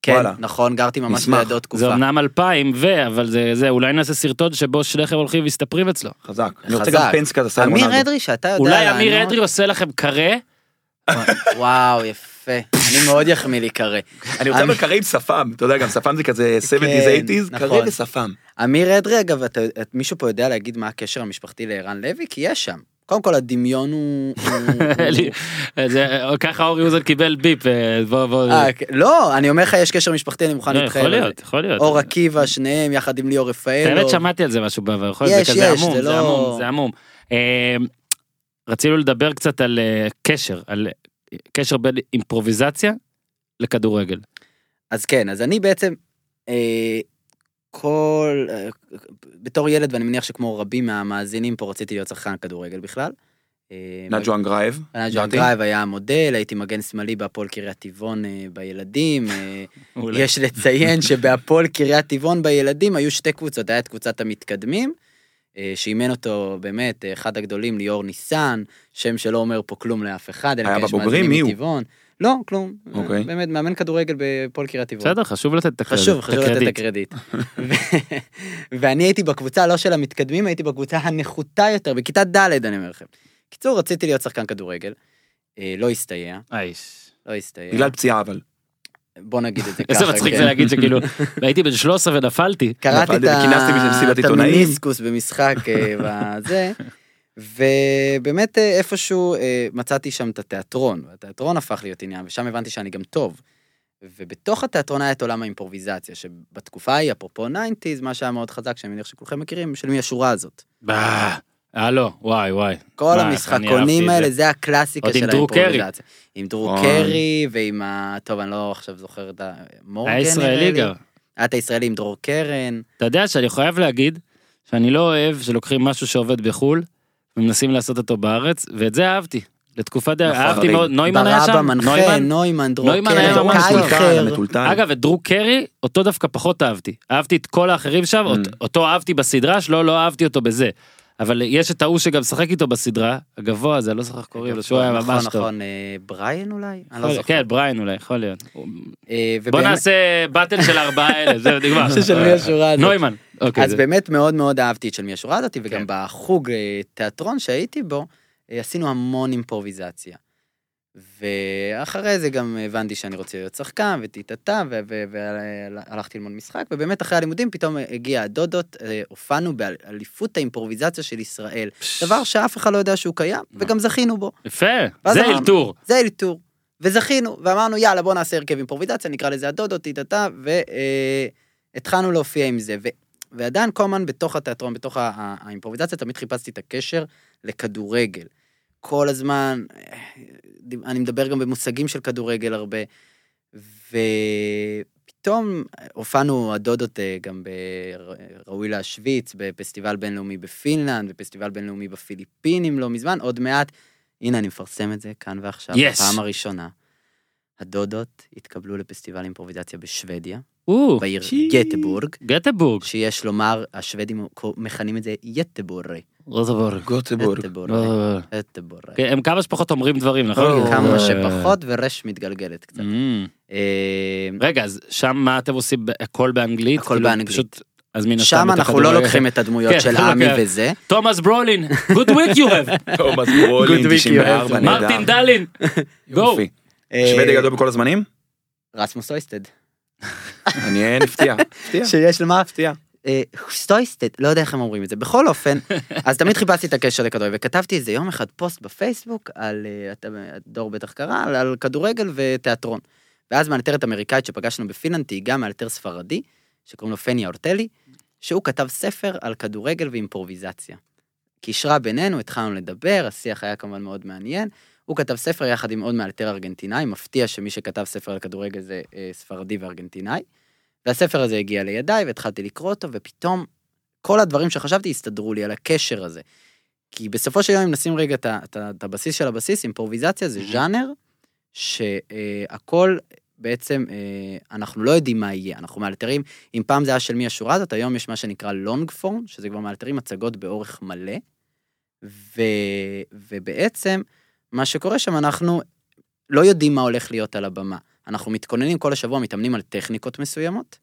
כן, וואלה. נכון, גרתי ממש נשמח. לידו זה תקופה. אמנם אלפיים ו... אבל זה... זה אולי נעשה סרטון שבו שניכם הולכים ומסתפרים אצלו. חזק. אני רוצה חזק. גם פנסקה, תעשה אמיר רונלדו. אדרי, שאתה יודע לא אולי לענות- אמיר אדרי עושה לכם קרא? וואו, יפה. אני מאוד יחמיא לי אמ, קרא. אני רוצה אבל קרא עם שפם, אתה יודע, גם שפם זה כזה 70's, 80's, נכון. קרא ושפם. אמיר אדרי, אגב, אתה- את- מישהו פה יודע להגיד מה הקשר המשפחתי לערן לוי? כי יש שם. קודם כל, הדמיון הוא... הוא- אלי, זה- ככה אורי אוזן קיבל ביפ, אה, בוא בוא. אה, כן. לא, אני אומר לך, יש קשר משפחתי, אני מוכן לא, להתחייב. יכול על זה. להיות, יכול להיות. אור עקיבא, שניהם יחד עם ליאור רפאלו. באמת שמעתי על זה משהו בעבר, יכול להיות, זה יש, כזה יש, עמום, זה זה לא- עמום, זה עמום. אה, רצינו לדבר קצת על אה, קשר, על אה, קשר בין אימפרוביזציה לכדורגל. אז כן, אז אני בעצם, אה, כל... אה, בתור ילד, ואני מניח שכמו רבים מהמאזינים פה, רציתי להיות שחקן כדורגל בכלל. אה, נג'ו אנגרייב. נג'ו הבנתי. אנגרייב היה המודל, הייתי מגן שמאלי בהפועל קריית טבעון אה, בילדים. אה, מעולה. יש לציין שבהפועל קריית טבעון בילדים היו שתי קבוצות, היה את קבוצת המתקדמים, אה, שאימן אותו באמת אה, אחד הגדולים, ליאור ניסן, שם שלא אומר פה כלום לאף אחד, אלא היה כאלה בבוגרים? שמאזינים מי הוא? מטבעון. לא, כלום. אוקיי. אה, באמת, מאמן כדורגל בהפועל קריית טבעון. בסדר, חשוב לתת את הקרדיט. חשוב, חשוב לתת את הקרדיט. הקרדיט. ו- ואני הייתי בקבוצה לא של המתקדמים, הייתי בקבוצה הנחותה יותר, בכיתה ד' אני אומר לכם. קיצור, רציתי להיות שחקן כדורגל, אה, לא הסתייע, אייש. לא הסתייע. בגלל פציעה אבל. בוא נגיד את זה ככה. איזה מצחיק כן. זה להגיד שכאילו, הייתי בן 13 ונפלתי. קראתי נפלתי וכינסתי בשביל מסיבת את ה- את עיתונאים. המיניסקוס במשחק אה, בזה, ובאמת אה, איפשהו אה, מצאתי שם את התיאטרון, והתיאטרון הפך להיות עניין, ושם הבנתי שאני גם טוב. ובתוך התיאטרון היה את עולם האימפרוביזציה, שבתקופה ההיא, אפרופו 90's, מה שהיה מאוד חזק, שאני מניח שכולכם מכירים, של מי השורה הזאת. אה, הלו, וואי וואי. כל וואי, איך אני אהבתי המשחקונים את זה. האלה, זה הקלאסיקה עוד של עם דרור קרי. האימפרוביזציה. עם דרור אוי. קרי, ועם ה... טוב, אני לא עכשיו זוכר את ה... מורגן, היה אוקיי, נראה ישראלי לי. גם. היה את הישראלי עם דרור קרן. אתה יודע שאני חייב להגיד שאני לא אוהב שלוקחים משהו שעובד בחול ומנסים לעשות אותו בארץ, ואת זה אהבתי. לתקופה די, נכון, אהבתי אבל מאוד, נוימן היה שם? ברבא מנחה, נוימן? נוימן, דרור נוימן היה קרן, ממש קייכר. מטולטל. אגב, את דרו קרי, אותו דווקא פחות אהבתי. אהבתי את כל האחרים שם, אות- אותו אהבתי בסדרה שלו, לא אהבתי אותו בזה. אבל יש את ההוא שגם שחק איתו בסדרה, הגבוה הזה, לא זוכר איך קוראים לו, שהוא היה נכון, ממש טוב. נכון, אה, בריין אולי? אני לא יכול- זוכר. כן, בריין אולי, יכול להיות. אה, בוא ובאמת- נעשה באטל של ארבעה אלה, זהו, נגמר. של מי השורה הזאת. נוימן. אוקיי, אז זה- באמת מאוד מאוד אהבתי את של מי השורה הזאת, כן. וגם בחוג אה, תיאטרון שהייתי בו, אה, עשינו המון אימפרוביזציה. ואחרי זה גם הבנתי שאני רוצה להיות שחקן, וטיטטה, והלכתי ללמוד משחק, ובאמת אחרי הלימודים פתאום הגיע הדודות, אה, הופענו באליפות האימפרוביזציה של ישראל, דבר שאף אחד לא יודע שהוא קיים, וגם זכינו בו. יפה, ואז זה אמרנו- אלתור. זה אלתור. וזכינו, ואמרנו יאללה בוא נעשה הרכב אימפרוביזציה, נקרא לזה הדודו, אה, טיטטה, והתחלנו להופיע עם זה. ו... ועדיין כל הזמן בתוך התיאטרון, בתוך ה- ה- האימפרוביזציה, תמיד חיפשתי את הקשר לכדורגל. כל הזמן, אה, אני מדבר גם במושגים של כדורגל הרבה, ופתאום הופענו הדודות אה, גם בראוי להשוויץ, בפסטיבל בינלאומי בפינלנד, בפסטיבל בינלאומי בפיליפינים לא מזמן, עוד מעט, הנה אני מפרסם את זה כאן ועכשיו, Yes. בפעם הראשונה. הדודות התקבלו לפסטיבל אימפרוביזציה בשוודיה, או, בעיר שי. גטבורג, גטבורג. שיש לומר, השוודים מכנים את זה יטבורי. רוטבורג. גוטבורג. לא, יטבורי. יטבורי. הם כמה שפחות אומרים דברים, נכון? אוי, כאילו, כן, כמה כן. אה, שפחות, ורש מתגלגלת קצת. אמ. אה, רגע, אז שם מה אתם עושים? הכל באנגלית? הכל כאילו, באנגלית. פשוט, אז מן הסתם... שם את אנחנו לא הכדורגל- לוקחים את כן, הדמויות של לא עמי לוקח. וזה. תומאס ברולין, good week you have, תומאס ברולין, Good week, 94, יואב. נהדר. מרטין דלין, גו. אה, יופי. שוודי גדול בכל הזמנים? רסמוס סויסטד. מעניין, הפתיע. הפתיע. שיש למה הפתיע. אה, סטויסטד, לא יודע איך הם אומרים את זה. בכל אופן, אז תמיד חיפשתי את הקשר לכדורגל, וכתבתי איזה יום אחד פוסט בפייסבוק על, אה, אתה- הדור בטח קרא, על, על כדורגל ותיאטרון. ואז מאלתרת אמריקאית שפגשנו בפינלנד, היא גם מאלתר ספרדי, שקוראים לו פניה אורטלי, שהוא כתב ספר על כדורגל ואימפרוביזציה. קישרה בינינו, התחלנו לדבר, השיח היה כמובן מאוד מעניין. הוא כתב ספר יחד עם עוד מאלתר ארגנטינאי, מפתיע שמי שכתב ספר על כדורגל זה אה, ספרדי וארגנטינאי. והספר הזה הגיע לידיי, והתחלתי לקרוא אותו, ופתאום כל הדברים שחשבתי הסתדרו לי על הקשר הזה. כי בסופו של יום, אם נשים רגע את ה- את ה- את הבסיס של הבסיס, אימפרוביזציה זה ז'אנר שהכל בעצם, אה, אנחנו לא יודעים מה יהיה, אנחנו מאלתרים, אם פעם זה היה של מי השורה הזאת, היום יש מה שנקרא לונג פורם, שזה כבר מאלתרים הצגות באורך מלא, ו, ובעצם מה שקורה שם, אנחנו לא יודעים מה הולך להיות על הבמה. אנחנו מתכוננים כל השבוע, מתאמנים על טכניקות מסוימות,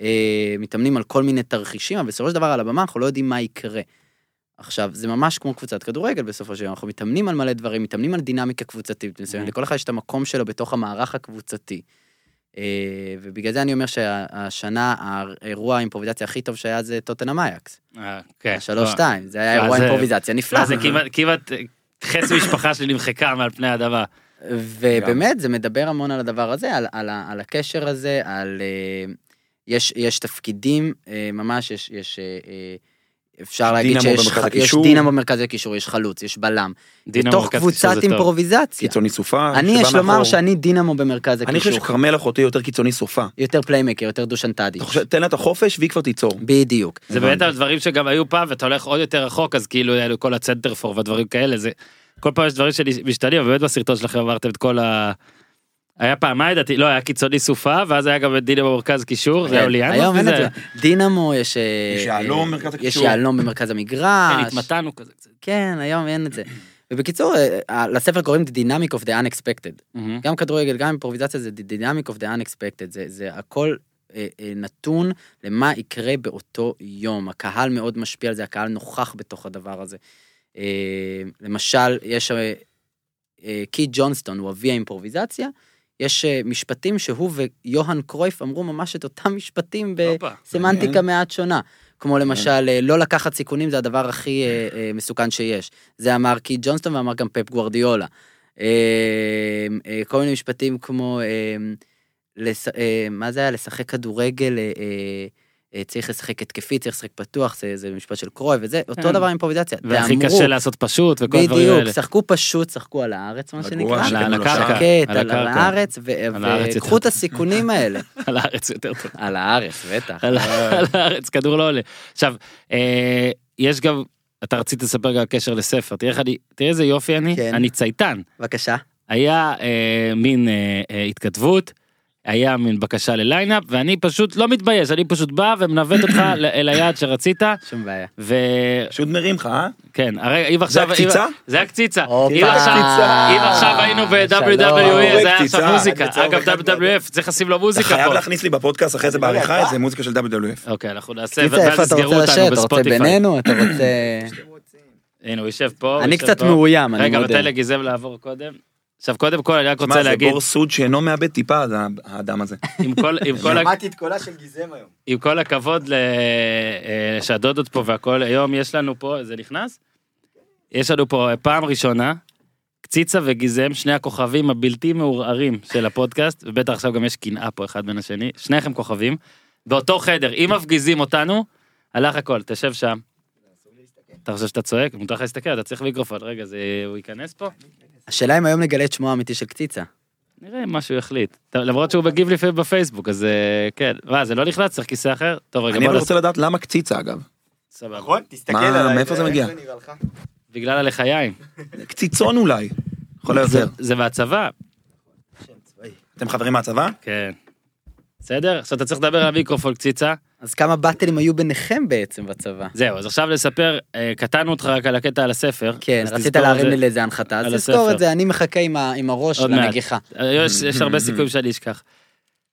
אה, מתאמנים על כל מיני תרחישים, אבל בסופו של דבר על הבמה אנחנו לא יודעים מה יקרה. עכשיו, זה ממש כמו קבוצת כדורגל בסופו של יום, אנחנו מתאמנים על מלא דברים, מתאמנים על דינמיקה קבוצתית מסוימת, Mhm. לכל אחד יש את המקום שלו בתוך המערך הקבוצתי. אה, ובגלל זה אני אומר שהשנה, האירוע האימפרוביזציה הכי טוב שהיה זה טוטנאם אייקס. אה, כן. השלוש לא. שתיים, זה היה לא, אירוע זה- אימפרוביזציה נפלא. לא, זה כמעט- כמעט אה, חצי משפחה שלי נמחקה מעל פני האדמה. ובאמת זה מדבר המון על הדבר הזה, על, על, ה- על הקשר הזה, על... אה, יש, יש תפקידים, אה, ממש יש... יש אה, אה, אפשר להגיד דינמו שיש במרכז ח- יש הקישור. דינמו במרכז הקישור, יש חלוץ, יש בלם. דינה בתוך מרקצי, קבוצת שזה טוב. אימפרוביזציה. קיצוני סופה. אני שבא יש לומר מאחור. שאני דינמו במרכז אני חושב הקישור. שכרמל אחותי יותר קיצוני סופה. יותר פליימקר, יותר דושנטדי. אתה חושב, תן לה את החופש והיא כבר תיצור. בדיוק. זה באמת הדברים שגם היו פעם ואתה הולך עוד יותר רחוק אז כאילו היה לו כל הצנטרפור והדברים כאלה זה כל פעם יש דברים שמשתנים אבל באמת בסרטון שלכם אמרתם את כל ה... היה פעמיים לדעתי לא היה קיצוני סופה ואז היה גם את דינה במרכז קישור זה היה אוליאנוס. כן, היום אין וזה את היה- זה. דינמו, יש... אה, יש יהלום אה, במרכז יש הקישור. יהלום במרכז המגרש. כן, התמתנו כזה קצת. כן, היום אין את זה. ובקיצור, אה, אה, לספר קוראים The Dynamic of the Unexpected. מהמם. גם כדורגל, גם אימפרוביזציה זה The Dynamic of the Unexpected. זה, זה הכל אה, אה, נתון למה יקרה באותו יום. הקהל מאוד משפיע על זה, הקהל נוכח בתוך הדבר הזה. אה, למשל, יש... אה, אה, קי ג'ונסטון, הוא אבי האימפרוביזציה. יש אה, משפטים שהוא ויוהאן קרויף אמרו ממש את אותם משפטים ב... הופה. סמנטיקה מעניין. מעט שונה. כמו למשל, אה, לא לקחת סיכונים זה הדבר הכי אה, אה, מסוכן שיש. זה אמר קיט ג'ונסטון ואמר גם פפ גוורדיולה. אה, אה, כל מיני משפטים כמו, אה, לס- אה, מה זה היה? לשחק כדורגל, אה, אה, אה, צריך לשחק התקפי, צריך לשחק פתוח, זה- זה משפט של קרוי וזה, אותו כן. דבר אימפרוביזציה. והכי תאמרו, קשה לעשות פשוט וכל הדברים בדיוק, האלה. שחקו פשוט, שחקו על הארץ, מה על שנקרא. הגורש, על ה- על שקנו לו הקרקע. שקט, על על הקרקע. הארץ, ו- על הארץ כן. יותר וקחו טוב. את הסיכונים האלה. על הארץ יותר טוב. על הארץ, בטח. על ה- על הארץ כדור לא עולה. עכשיו אה, יש גם אתה רצית לספר גם על קשר לספר תראה איך אני תראה איזה יופי אני כן. אני צייתן. בבקשה. היה אה, מין אה, אה, התכתבות, היה מין בקשה לליינאפ, ואני פשוט לא מתבייש, אני פשוט בא ומנווט אותך ל- אל היעד שרצית, שום בעיה. וכן, פשוט מרים לך, אה? הרי אם עכשיו... אם- הקציצה? זה הקציצה. הופה. אם עכשיו- הקציצה. אם עכשיו היינו שלום. ב-WWE, זה היה עכשיו קציצה. מוזיקה. לצורך אגב, אחד WWF, צריך לשים לו אתה מוזיקה חייב פה. להכניס לי בפודקאסט אחרי זה לא, בעריכה איזה מוזיקה של WF. אוקיי, אנחנו נעשה, קיצר, ואז איפה אתה יסגרו רוצה אותנו לשבת? אתה רוצה בספוטיפיי. בינינו? אתה רוצה... הנה, הוא יושב פה. הוא אני יושב קצת פה. מאוים, אני רגע, מודה. ותן לגיזם לעבור קודם. עכשיו, קודם כל, אני רק מה רוצה זה להגיד, בור סוד שאינו מאבד טיפה זה האדם הזה. עם כל- עם כל ה- שמעתי את קולה של גיזם היום. עם כל הכבוד ל- אה, שהדודות פה והכל, היום יש לנו פה, זה נכנס? יש לנו פה אה, פעם ראשונה, קציצה וגיזם, שני הכוכבים הבלתי מעורערים של הפודקאסט, ובטח עכשיו גם יש קנאה פה אחד בין השני, שניכם כוכבים, באותו חדר, אם מפגיזים אותנו, הלך הכל, תשב שם. אתה חושב שאתה צועק? מותר לך להסתכל, אתה צריך מיקרופון, רגע, זה, הוא ייכנס פה? השאלה אם היום נגלה את שמו האמיתי של קציצה. נראה מה שהוא יחליט. טוב, למרות שהוא מגיב לפעמים בפייסבוק, אז אה, כן. מה, זה לא נכנס? צריך כיסא אחר? טוב, רגע, אני בוא אבל נעשה... רוצה לדעת למה קציצה אגב. סבבה. נכון? תסתכל מה, עליי. מאיפה אה, זה מגיע? איך נראה לך? בגלל הלחיים. קציצון אולי. יכול להיות יותר. זה מהצבא. אתם חברים מהצבא? כן. בסדר? עכשיו אתה צריך לדבר על המיקרופון קציצה. אז כמה באטלים היו ביניכם בעצם בצבא? זהו, אז עכשיו לספר, אה, קטענו אותך רק על הקטע על הספר. כן, אז רצית תזכור להרים את לי זה. לאיזה הנחתה, על אז תזכור הספר. את זה, אני מחכה עם ה- עם הראש עוד מעט. לנגיחה. אה, יש, יש Mm-hmm. הרבה סיכויים שאני אשכח.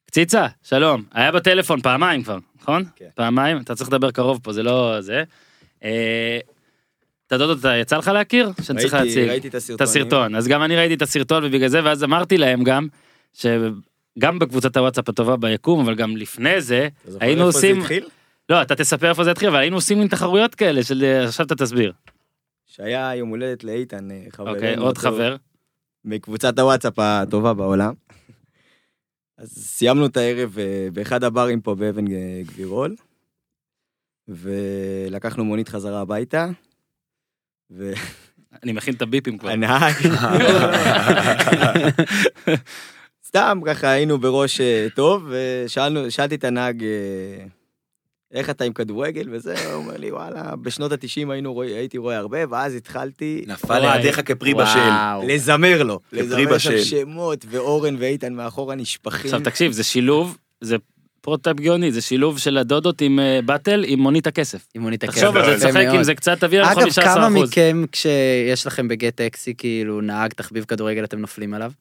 קציצה, שלום. היה בטלפון פעמיים כבר, נכון? כן. פעמיים, אתה צריך לדבר קרוב פה, זה לא זה. אה, את הדודות, אתה- יצא לך להכיר? שאני צריך ראיתי- להציג. ראיתי את את הסרטונים. הסרטון. אז גם אני ראיתי את הסרטון ובגלל זה, ואז אמרתי להם גם, ש... גם בקבוצת הוואטסאפ הטובה ביקום, אבל גם לפני זה, אתה זוכר היינו איפה זה עושים... התחיל? לא, אתה תספר איפה זה התחיל, אבל היינו עושים מין תחרויות כאלה של... אה, עכשיו אתה תסביר. שהיה יום הולדת לאיתן, אה, חברנו. אוקיי, עוד אותו- חבר. מקבוצת הוואטסאפ הטובה בעולם. אז סיימנו את הערב אה, באחד הברים פה באבן אה, גבירול, ולקחנו מונית חזרה הביתה, אני מכין את הביפים כבר. והנהג... סתם, ככה היינו בראש אה, טוב, ושאלנו, שאלתי את הנהג, אה, איך אתה עם כדורגל וזה, הוא אומר לי, וואלה, בשנות התשעים היינו רואי- הייתי רואה הרבה, ואז התחלתי נפל וואי. לידיך כפרי בשל. וואו. לזמר לו. לפרי לזמר עכשיו בשל. שמות, ואורן ואיתן מאחורה נשפכים. עכשיו תקשיב, זה שילוב, זה פרוטאפ גאוני, זה שילוב של הדודות עם אה, באטל עם מונית כן, הכסף. אם הוא נתעכב. תחשוב על זה, תשחק עם זה כאילו קצת, תביא לנו 15%. אגב, כמה מכם כשיש לכם בגט טקסי, כאילו, נהג תחביב כדורגל, אתם נופלים עליו?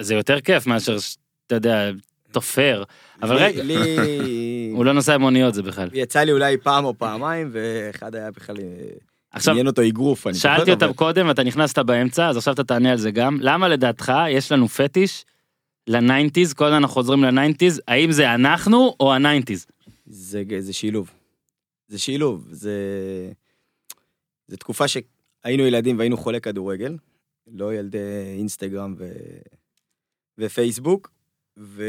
זה יותר כיף מאשר, ש- אתה יודע, תופר. אבל לי- רגע, לי... הוא לא נוסע במוניות זה בכלל. יצא לי אולי פעם או פעמיים, ואחד היה בכלל... אה, עכשיו, עניין אותו אגרוף, אני זוכר. שאלתי אותם אבל- קודם ואתה נכנסת באמצע, אז עכשיו אתה תענה על זה גם. למה לדעתך יש לנו פטיש לניינטיז, כל הזמן אנחנו חוזרים לניינטיז, האם זה אנחנו או הניינטיז? זה זה שילוב. זה שילוב, זה... זו תקופה שהיינו ילדים והיינו חולי כדורגל, לא ילדי אינסטגרם ו... ופייסבוק, ו...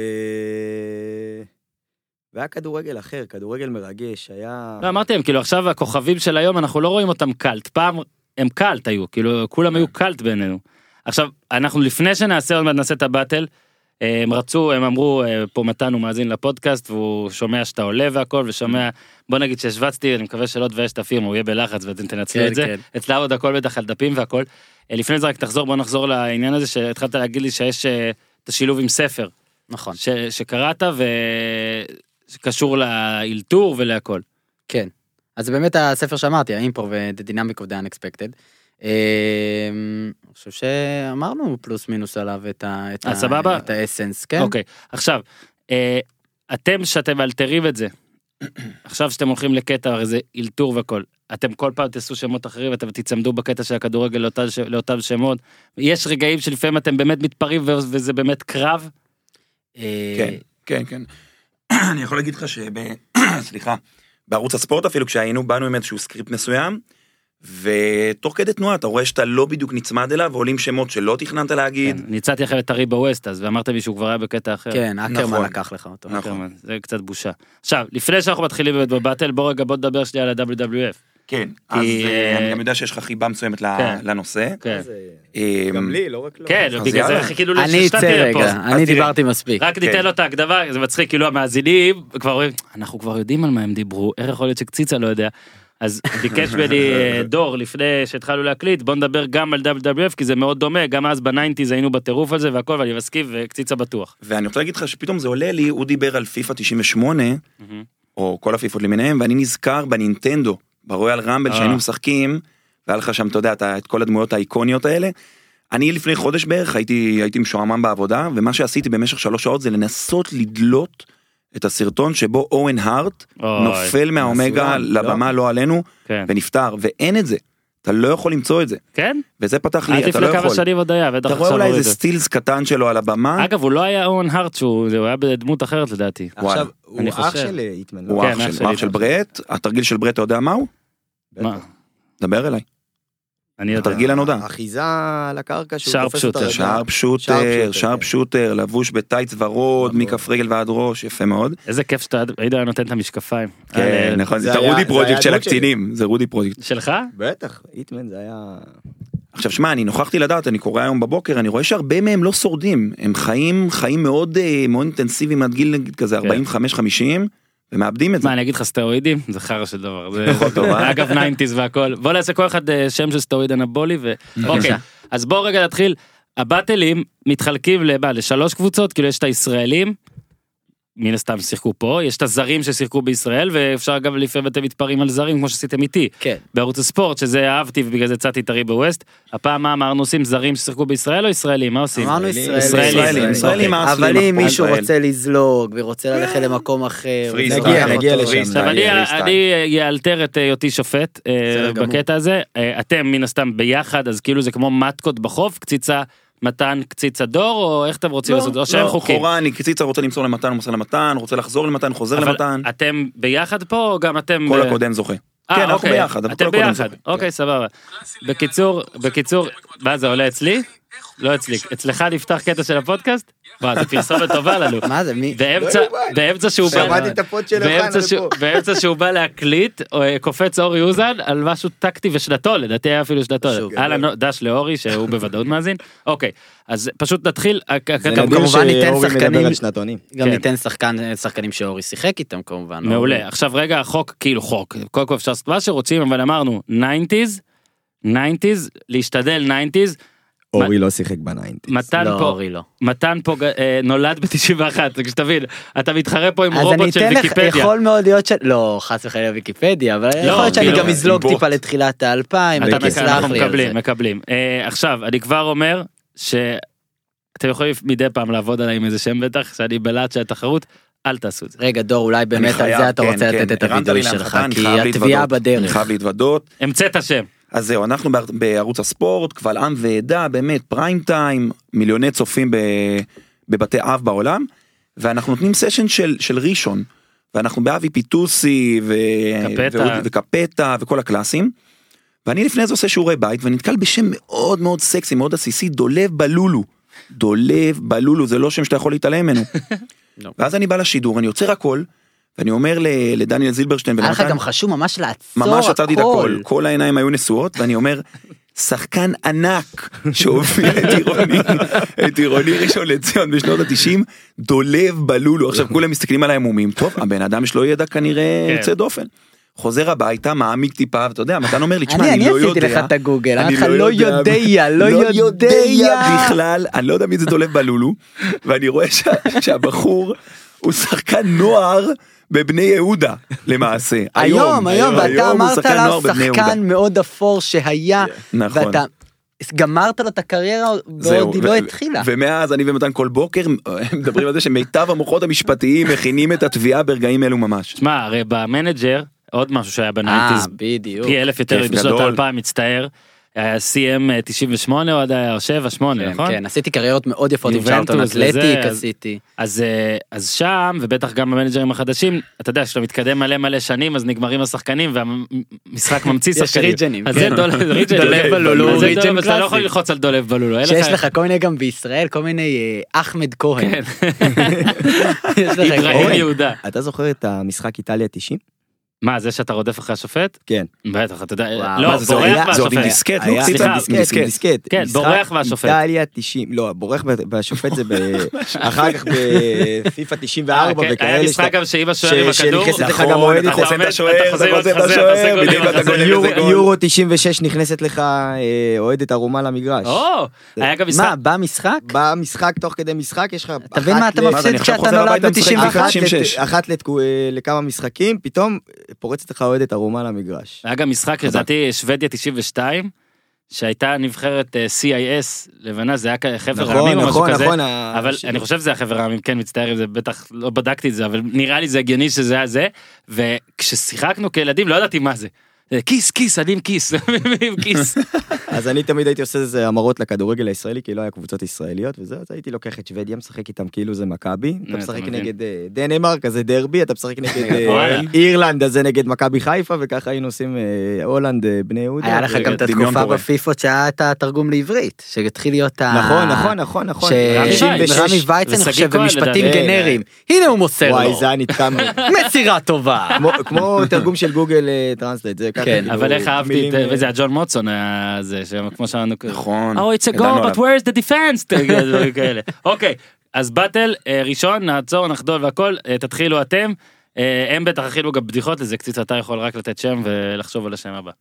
והיה כדורגל אחר, כדורגל מרגש, היה... לא, אמרתי להם, כאילו עכשיו הכוכבים של היום, אנחנו לא רואים אותם קאלט. פעם הם קאלט היו, כאילו כולם היו קאלט בינינו. עכשיו, אנחנו לפני שנעשה, עוד מעט נעשה את הבאטל, אה, הם רצו, הם אמרו, אה, פה מתן הוא מאזין לפודקאסט, והוא שומע שאתה עולה והכל, ושומע, בוא נגיד שהשווצתי, אני מקווה שלא תבייש את הפים, הוא יהיה בלחץ ואתם תנצלו את זה. אצלה עוד הכל בטח על דפים והכל. אה, לפני זה רק תחזור, בוא נחזור לעניין הזה שהתחלת להגיד לי שיש אה, את השילוב עם ספר, נכון. ש, שקראת וקשור לאלתור ולהכל. כן. אז זה באמת הספר שאמרתי, האימפרו ו-The Dynamic of the Unexpected. אמ, אני חושב שאמרנו פלוס מינוס עליו את ה... את אה, ה- סבבה? את האסנס, כן. אוקיי, עכשיו, אה, אתם שאתם מאלתרים את זה, עכשיו שאתם הולכים לקטע, הרי זה אלתור והכל, אתם כל פעם תעשו שמות אחרים, אתם תצמדו בקטע של הכדורגל לאותה ש- לאותם שמות. יש רגעים שלפעמים אתם באמת מתפרעים ו- וזה באמת קרב, אה, כן, כן, כן. אני יכול להגיד לך שב... סליחה. בערוץ הספורט אפילו כשהיינו, באנו עם איזשהו סקריפט מסוים, ותוך כדי תנועה אתה רואה שאתה לא בדיוק נצמד אליו, ועולים שמות שלא תכננת להגיד. כן, אני הצעתי לכם את הרי בווסט אז, ואמרתם לי שהוא כבר היה בקטע אחר. כן, אקרמן נכון. לקח לך אותו. נכון. אקרמן, זה קצת בושה. עכשיו, לפני שאנחנו מתחילים באמת בבטל, בוא רגע בוא נדבר שנייה על ה-WWF. כן, כי, אז אה, אה, אני גם יודע שיש לך חיבה מסוימת ל- כן. לנושא. כן, זה- אה, גם לי, לא רק לו. כן, אז בגלל זה יאללה. חיכינו אני אצא שתהיה פה. רגע, אני תראה. דיברתי מספיק. רק ניתן כן. לו את ההקדמה, זה מצחיק, כאילו המאזינים כבר רואים, אנחנו כבר יודעים על מה הם דיברו, איך יכול להיות שקציצה לא יודע. אז ביקש ממני אה, דור לפני שהתחלנו להקליט, בוא נדבר גם על WWF, כי זה מאוד דומה, גם אז בניינטיז היינו בטירוף על זה והכל, ואני מסכים, וקציצה בטוח. ואני רוצה להגיד לך שפתאום זה עולה לי, הוא דיבר על פיפא 98, או כל הפיפות למיניהם, ואני נזכר בנינטנדו, ברויאל רמבל אה. שהיינו משחקים, והיה לך שם, אתה יודע, אתה- את כל הדמויות האיקוניות האלה. אני לפני חודש בערך הייתי, הייתי משועמם בעבודה, ומה שעשיתי במשך שלוש שעות זה לנסות לדלות את הסרטון שבו אורן הארט אוי, נופל מהאומגה מסוים, לא? לבמה לא עלינו, כן. ונפטר, ואין את זה. אתה לא יכול למצוא את זה, כן? וזה פתח עד לי, אתה לא לפני כמה יכול. שנים עוד היה, בטח אתה רואה עכשיו אולי הורידו. איזה סטילס קטן שלו על הבמה, אגב, הוא לא היה אורן הארט, שהוא זה, הוא היה בדמות אחרת לדעתי. עכשיו, וואלה, הוא אני אח חושב. של איטמן. לא? הוא כן, אח אח של- שלי. הוא אח של ברט, התרגיל של ברט, אתה יודע מה הוא? מה? דבר אליי. אני יודע. התרגיל הנודע. אחיזה על הקרקע שהוא שרפ תופס אותה. שוטר. רגע. שרפ שרפשוטר, שוטר, שרפ לא. כן. שוטר, לבוש בטייץ ורוד, נכון. מכף רגל ועד ראש, יפה מאוד. איזה כיף שאתה היית נותן את המשקפיים. כן, אה, נכון, זה זה היה- רודי זה היה פרויקט של הדמות שלי. הקצינים, זה רודי פרויקט. שלך? בטח, איטמן זה היה... עכשיו שמע, אני נוכחתי לדעת, אני קורא היום בבוקר, אני רואה שהרבה מהם לא שורדים, הם חיים חיים מאוד אה, מאוד אינטנסיביים עד גיל נגיד כזה 45-50, ומאבדים את זה. כן. מה אני אגיד לך סטרואידים זה חרא של דבר זה פחות טוב, אה? אגב ניינטיז והכל בוא נעשה כל אחד אה, שם של סטרואיד אנבולי ו- אוקיי אז בואו רגע נתחיל הבטלים מתחלקים למה לשלוש קבוצות כאילו יש את הישראלים. מן הסתם שיחקו פה יש את הזרים ששיחקו בישראל ואפשר גם לפעמים אתם מתפרעים על זרים כמו שעשיתם איתי כן. בערוץ הספורט שזה אהבתי ובגלל זה הצעתי את הרי בווסט. הפעם מה אמרנו עושים זרים ששיחקו בישראל או ישראלים מה עושים? אמרנו ישראלים. ישראלים. אוקיי. ישראלים, ישראלים מאסלים, אבל אם הפועל מישהו ישראל. רוצה לזלוג ורוצה ללכת למקום אחר, פרי רוצה נגיע, לקחת סטייל, נגיע אותו. לשם. פרי עכשיו אני, סטייל, פרי סטייל. אני יאלתר את היותי שופט אה, בסדר גמור. בקטע הזה, אה, אתם מן הסתם ביחד, אז כאילו זה כמו מתקות בחוף, קציצה מתן קציץ הדור, או איך אתם רוצים לא, לעשות את זה? או שאין לא, חוקים. חורני, קיציצה רוצה למסור למתן, הוא מוסר למתן, רוצה לחזור למתן, חוזר אבל למתן. אתם ביחד פה, או גם אתם... כל ב- הקודם זוכה. אה, כן, אנחנו אוקיי. ביחד, אנחנו אתם כל הקודם כן. ביחד, זוכה. אוקיי, סבבה. בקיצור, בקיצור, מה זה עולה אצלי? לא אצלי. אצלך נפתח קטע של הפודקאסט? מה, זה פרסומת טובה לנו. מה זה, מי? באמצע, לא יאומן. באמצע שהוא בא... שמעתי את הפוד של באמצע אוחנה שהוא- לפה. באמצע שהוא בא להקליט, או, אה, קופץ אורי אוזן על משהו טקטי ושנתו, לדעתי היה אפילו שנתו. שוב. אהלן דש לאורי, שהוא בוודאות מאזין. אוקיי, אז פשוט נתחיל. אה, הק- הק- זה הק- גם נדיר כמובן ניתן שאורי שחקנים- מדבר על שנתונים. גם כן. ניתן שחקן- אה, שחקנים שאורי שיחק איתם כמובן. לא? מעולה. עכשיו רגע, החוק, כאילו חוק. קודם כל אפשר לעשות מה שרוצים, אבל אמרנו, 90's, 90's, להשתדל 90's. אורי לא שיחק בניינטיז. מתן לא, פה, אורי לא. מתן פה ג- אה, נולד ב-91, שתבין, אתה מתחרה פה עם אז אני רובוט של אתן לך, ויקיפדיה. יכול מאוד להיות ש... לא, חס וחלילה ויקיפדיה, אבל יכול להיות שאני כאילו, גם אזלוג בוט. טיפה לתחילת האלפיים, אתה אתה מכיר, תסלח אנחנו לי כן. על זה. מקבלים, מקבלים. אה, עכשיו, אני כבר אומר שאתם יכולים מדי פעם לעבוד עליי עם איזה שם בטח, שאני בלהט של התחרות, אל תעשו את זה. רגע, דור, אולי באמת על חייב, זה אתה כן, רוצה כן. לתת את הרמת הווידוי לי להנחתה, שלך, אני כי חייב התביעה להתוודות. אני בדרך. חייב להתוודות. המצאת שם. אז זהו, אנחנו בער- בערוץ הספורט, קבל עם ועדה, באמת, פריים טיים, מיליוני צופים ב- בבתי אב בעולם, ואנחנו נותנים סשן של, של ראשון, ואנחנו באבי פיטוסי, ו... קפטה. ואודי- וקפטה, וכל הקלאסים, ואני לפני זה עושה שיעורי בית, ונתקל בשם מאוד מאוד סקסי, מאוד עסיסי, דולב בלולו. דולב בלולו, זה לא שם שאתה יכול להתעלם ממנו. לא. ואז אני בא לשידור, אני עוצר הכל, ואני אומר ל- לדניאל זילברשטיין היה לך ולמתן- גם חשוב ממש לעצור הכל. ממש עצרתי את הכל, כל העיניים היו נשואות, ואני אומר, שחקן ענק שהופיע את עירוני, את עירוני ראשון לציון בשנות התשעים, דולב בלולו, עכשיו כולם מסתכלים עליי המומים, טוב, הבן אדם שלו ידע כנראה כן. יוצא דופן. חוזר הביתה, מעמיק טיפה, ואתה יודע, מתן אומר לי, תשמע, אני, אני אני לא יודע. עשיתי לך את הגוגל, אני אמרתי לך לא יודע, לא יודע. בכלל, אני לא יודע מי זה דולב בלולו, ואני רואה שה- שהבחור הוא שחקן נוער בבני יהודה, למעשה. היום, היום, ואתה הוא אמרת שחקן עליו נוער בבני יהודה. שחקן מאוד אפור שהיה, נכון. ואתה גמרת לו את הקריירה זהו, בעוד היא לא התחילה. ומאז אני ומתן כל בוקר אה, מדברים על זה שמיטב המוחות המשפטיים מכינים את התביעה ברגעים אלו ממש. שמע, הרי במנג'ר, עוד משהו שהיה אה, בניינטיז, בדיוק. פי אלף יותר כיף בשנות גדול. האלפיים, מצטער. היה אה, CM 98 או עד היה 7, 8, כן, נכון? כן, עשיתי קריירות מאוד יפות עם יובנטוס שרלטון וזה, אתלטיק אז- עשיתי. אז, אה, אז שם, ובטח גם במנג'רים החדשים, אתה יודע, כשאתה מתקדם מלא מלא שנים, אז נגמרים השחקנים והמשחק ממציא יש שחקנים. ריג'נים, אז כן. זה דולב ריג'ן, דולב בלולו, אז זה ריג'ן דולב, אתה לא קלאסי. יכול ללחוץ על דולב בלולו, אין לך- שיש לך כל מיני גם בישראל, כל מיני אה, אחמד כהן. כן. יש לך איברהים כהן. יהודה. אתה זוכר את המשחק איטליה 90? מה, זה שאתה רודף אחרי השופט? כן. בטח, אתה יודע, וואו. לא, מה זה, זה עוד- בורח זה עוד עם מהשופט. דיסקט, לא? היה- ציצה? סליחה, עם דיסקט, עם דיסקט. כן, משחק בורח והשופט. איטליה 90, לא, בורח ב- והשופט זה ב... אחר כך בפיפא אה, 94 כן, היה וכאלה. משחק שאתה- גם שאם השוער עם ש- הכדור, נכון, שנכנסת אתה לך גם עומד, אוהד, אתה חוסם את אתה השוער, חוזר, אתה חוסם את אתה חוזר, השוער, אתה עושה גולים, בדיוק אתה אתה עושה גול. גולים. יורו- איזה גול. יורו 96 נכנסת לך אה, אוהדת ערומה למגרש. או, היה גם משחק מה, במשחק? במשחק, תוך כדי משחק, יש לך... אתה מבין מה אחת אתה ל- מה זה, אני מפסיד עכשיו כשאתה חוזר נולד הביתה, משחק ב-91? אחד? אחת לת- 96. אחת לתקו- אה, לכמה משחקים, פתאום פורצת לך אוהדת ערומה למגרש. היה גם משחק לדעתי שוודיה 92 שהייתה נבחרת אה, CIS לבנה זה היה כ- חבר העמים נכון, או משהו נכון, כזה. נכון. ה- אבל ש- אני חושב שזה החבר העמים כן מצטער אם זה בטח לא בדקתי את זה אבל נראה לי זה הגיוני שזה היה זה וכששיחקנו כילדים לא ידעתי מה זה. זה כיס כיס אני עם כיס עם כיס. אז אני תמיד הייתי עושה איזה המרות לכדורגל הישראלי, כי לא היה קבוצות ישראליות וזה, אז הייתי לוקח את שוודיה, משחק איתם כאילו זה מכבי, אתה אתה משחק מבין. נגד אה, דנמרק, אז זה דרבי, אתה משחק נגד אה, וואלה. אירלנד, אז זה נגד מכבי חיפה, וככה היינו עושים אה, הולנד, אה, בני יהודה. היה לך ו- גם את דמיון התקופה פורה. בפיפות שהיה את התרגום לעברית, שהתחיל להיות ה... נכון, נכון, נכון, נכון. ש- רמי וייץ. ש- ושש- רמי וייץ, אני ושגיא חושב, כהן, במשפטים לדעתי. גנריים. הנה הוא מוסר וואי, לו. זה היה נתקע מאוד. מסירה טובה. כמו- כמו תרגום של גוגל אה, טרנסלייט, זה ככה. כן, כאילו, אבל איך אהבתי מילים, את אה, וזה הג'ון מוטסון היה זה שכמו שאמרנו. נכון. Oh it's a ידענו goal עליו. but where's the defense? דברים כאלה. כן, אוקיי אז באטל אה, ראשון נעצור נחדול והכל אה, תתחילו אתם. אה, הם בטח הכילו גם בדיחות לזה קציץ אתה יכול רק לתת שם ולחשוב על השם הבא.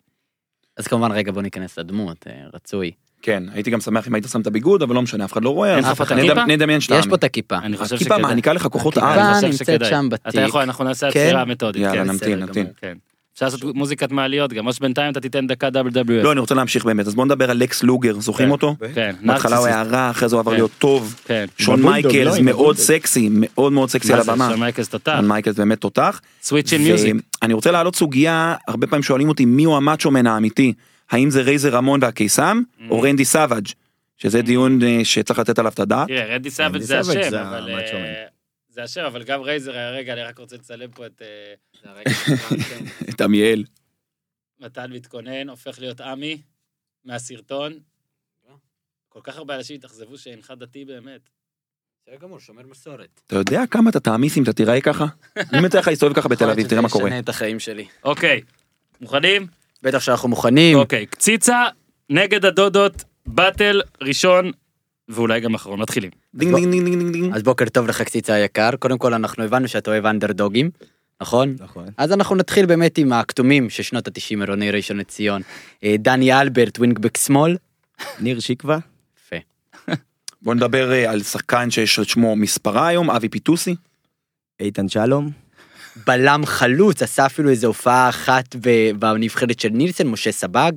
אז כמובן, רגע, בוא ניכנס לדמות, אה, רצוי. כן, הייתי גם שמח אם היית שם את הביגוד, אבל לא משנה, אף אחד לא רואה. אין אז לך פה את נדמ- הכיפה? נדמיין שאתה יש פה עמי. את הכיפה. אני חושב הכיפה שכדאי. מעניקה לך כוחות הכיפה. על. אני חושב נמצאת שכדאי. שם בתיק. אתה יכול אנחנו נעשה כן? עצירה מתודית. יאללה, כן. נמתין, בסדר נמתין. גמור. כן. אפשר לעשות מוזיקת מעליות גם או שבינתיים אתה תיתן דקה WWF. לא, אני רוצה להמשיך באמת, אז בוא נדבר על לקס לוגר, זוכרים כן. אותו? כן. בהתחלה הוא נרציסיסט. היה רע, אחרי זה הוא עבר כן. להיות טוב. כן. שון בבולדוג, לא, מייקלס עם מאוד הבולדוג. סקסי, מאוד מאוד סקסי על מה זה, הבמה. שון מייקלס תותח. שון מייקלס באמת תותח. Switch in music. אני רוצה להעלות סוגיה, הרבה Mm. פעמים שואלים אותי מי הוא המאצ'ו מן האמיתי, האם זה רייזר רמון והקיסם, או רנדי סאבג', שזה דיון אה, שצריך לתת עליו את הדעת. תראה, רדי רנדי סאבג' זה סאבג' השם, זה אבל... המאצ'ו אה, מן. זה השם, אבל גם רייזר היה רגע, אני רק רוצה לצלם פה את... אה, זה הרגע, כן. את עמיאל. מתן מתכונן, הופך להיות עמי מהסרטון. כל כך הרבה אנשים התאכזבו שאינך דתי באמת. בסדר גמור, שומר מסורת. אתה יודע כמה אתה תעמיס אם אתה תיראה ככה? אני מציע לך להסתובב ככה בתל אביב, תראה מה קורה. ישנה את החיים שלי. אוקיי, מוכנים? בטח שאנחנו מוכנים. אוקיי, קציצה נגד הדודות, באטל ראשון, ואולי גם אחרון, מתחילים. דינג דינג דינג דינג דינג. אז בוקר טוב לך קציצה היקר. קודם כל אנחנו הבנו שאתה אוהב אנדרדוגים, נכון? נכון. אז אנחנו נתחיל באמת עם הכתומים של שנות התשעים עירוני ראשון לציון. אה, דני אלברט, ווינגבק שמאל. ניר שיקווה, יפה. בוא נדבר אה, על שחקן שיש את שמו מספרה היום, אבי פיטוסי. איתן שלום, בלם חלוץ, עשה אפילו איזו הופעה אחת ב- בנבחרת של נילסון, משה סבג.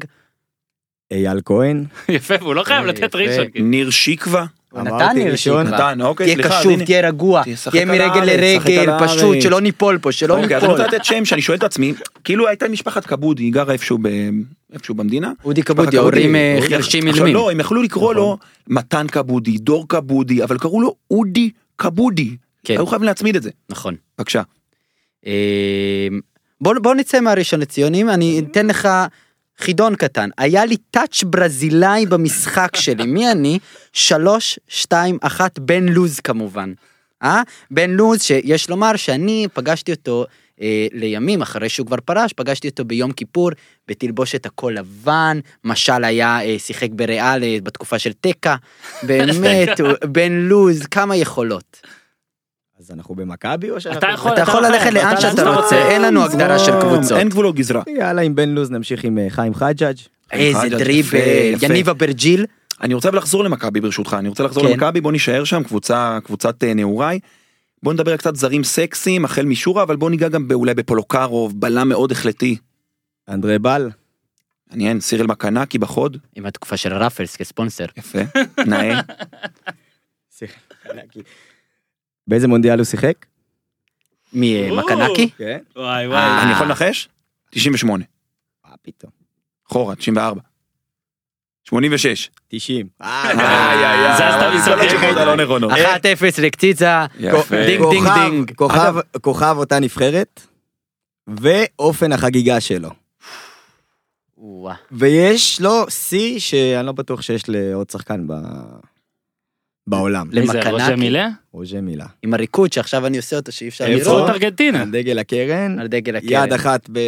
אייל כהן, יפה, והוא לא חייב אה, לתת יפה. ראשון. כאילו. ניר שיקווה. הוא נתן אמרתי לי ראשון. ראשון. נתן, אוקיי, אה. תהיה סליחה. אז קשוב, הנה. תהיה רגוע, תשחק תהיה על מרגל הארץ, לרגל, שחק על פשוט, הארץ. שלא ניפול פה, שלא אוקיי, אז אני ניפול. רוצה לתת שם שאני שואל את עצמי, כאילו הייתה משפחת כבודי, היא גרה איפשהו ב- איפשהו במדינה. אודי משפחת כבודי, הורים אה, הורים- חרשים נכון. עכשיו, אילמים. לא, הם יכלו לקרוא לו מתן כבודי, דור כבודי, אבל קראו לו אודי כבודי. כן. היו חייבים להצמיד את זה. נכון. בבקשה. אמ, בוא בוא נצא מהראשון לציונים, אני אתן לך חידון קטן. היה לי טאץ' ברזילאי במשחק שלי, מי אני? שלוש, שתיים, אחת, בן לוז כמובן. אה? בן לוז, שיש לומר שאני פגשתי אותו אה, לימים, אחרי שהוא כבר פרש, פגשתי אותו ביום כיפור בתלבושת הכל לבן, משל היה, אה, שיחק בריאל אה, בתקופה של תקה. באמת, הוא- בן לוז, כמה יכולות. אז אנחנו במכבי או שאנחנו... אתה יכול- אתה יכול ללכת לאן אתה- שאתה אתה- רוצה, אין לנו הגדרה אה, של קבוצות. אה, אין גבולות גזרה. יאללה עם בן לוז נמשיך עם אה, חיים חג'ג', איזה יפה, דריבל, יפה. יניב אברג'יל, אני רוצה אבל לחזור למכבי ברשותך, אני רוצה לחזור כן. למכבי, בוא נישאר שם, קבוצה, קבוצת אה, נעוריי. בוא נדבר על קצת זרים סקסיים, החל משורה, אבל בוא ניגע גם ב- אולי בפולוקרוב, בלם מאוד החלטי. אנדרי בל, מעניין, סירל מקנקי בחוד, עם התקופה של רפלס כספונסר. יפה, נאה. באיזה מונדיאל הוא שיחק? אה, ממקנקי? כן. וואי אה. וואי. אני יכול לנחש? 98, מה פתאום? חורה, 94. 86. 90. אה, איי, זזת אבל מזרח. כל השמות הלא נכונות. 1-0 לקציצה, יפה. דינג דינג דינג. אה, כוכב, כוכב אותה נבחרת, ואופן החגיגה שלו. וואה. ויש לו שיא שאני לא בטוח שיש לעוד שחקן ב... בעולם. מי זה, למקנקי. רושם מילה? רוז'ה מילה. עם עם הריקוד שעכשיו אני עושה אותו שאי אפשר איפה? נצרות לראות. ארגנטינה. דגל הקרן, על דגל יד הקרן. אחת ב...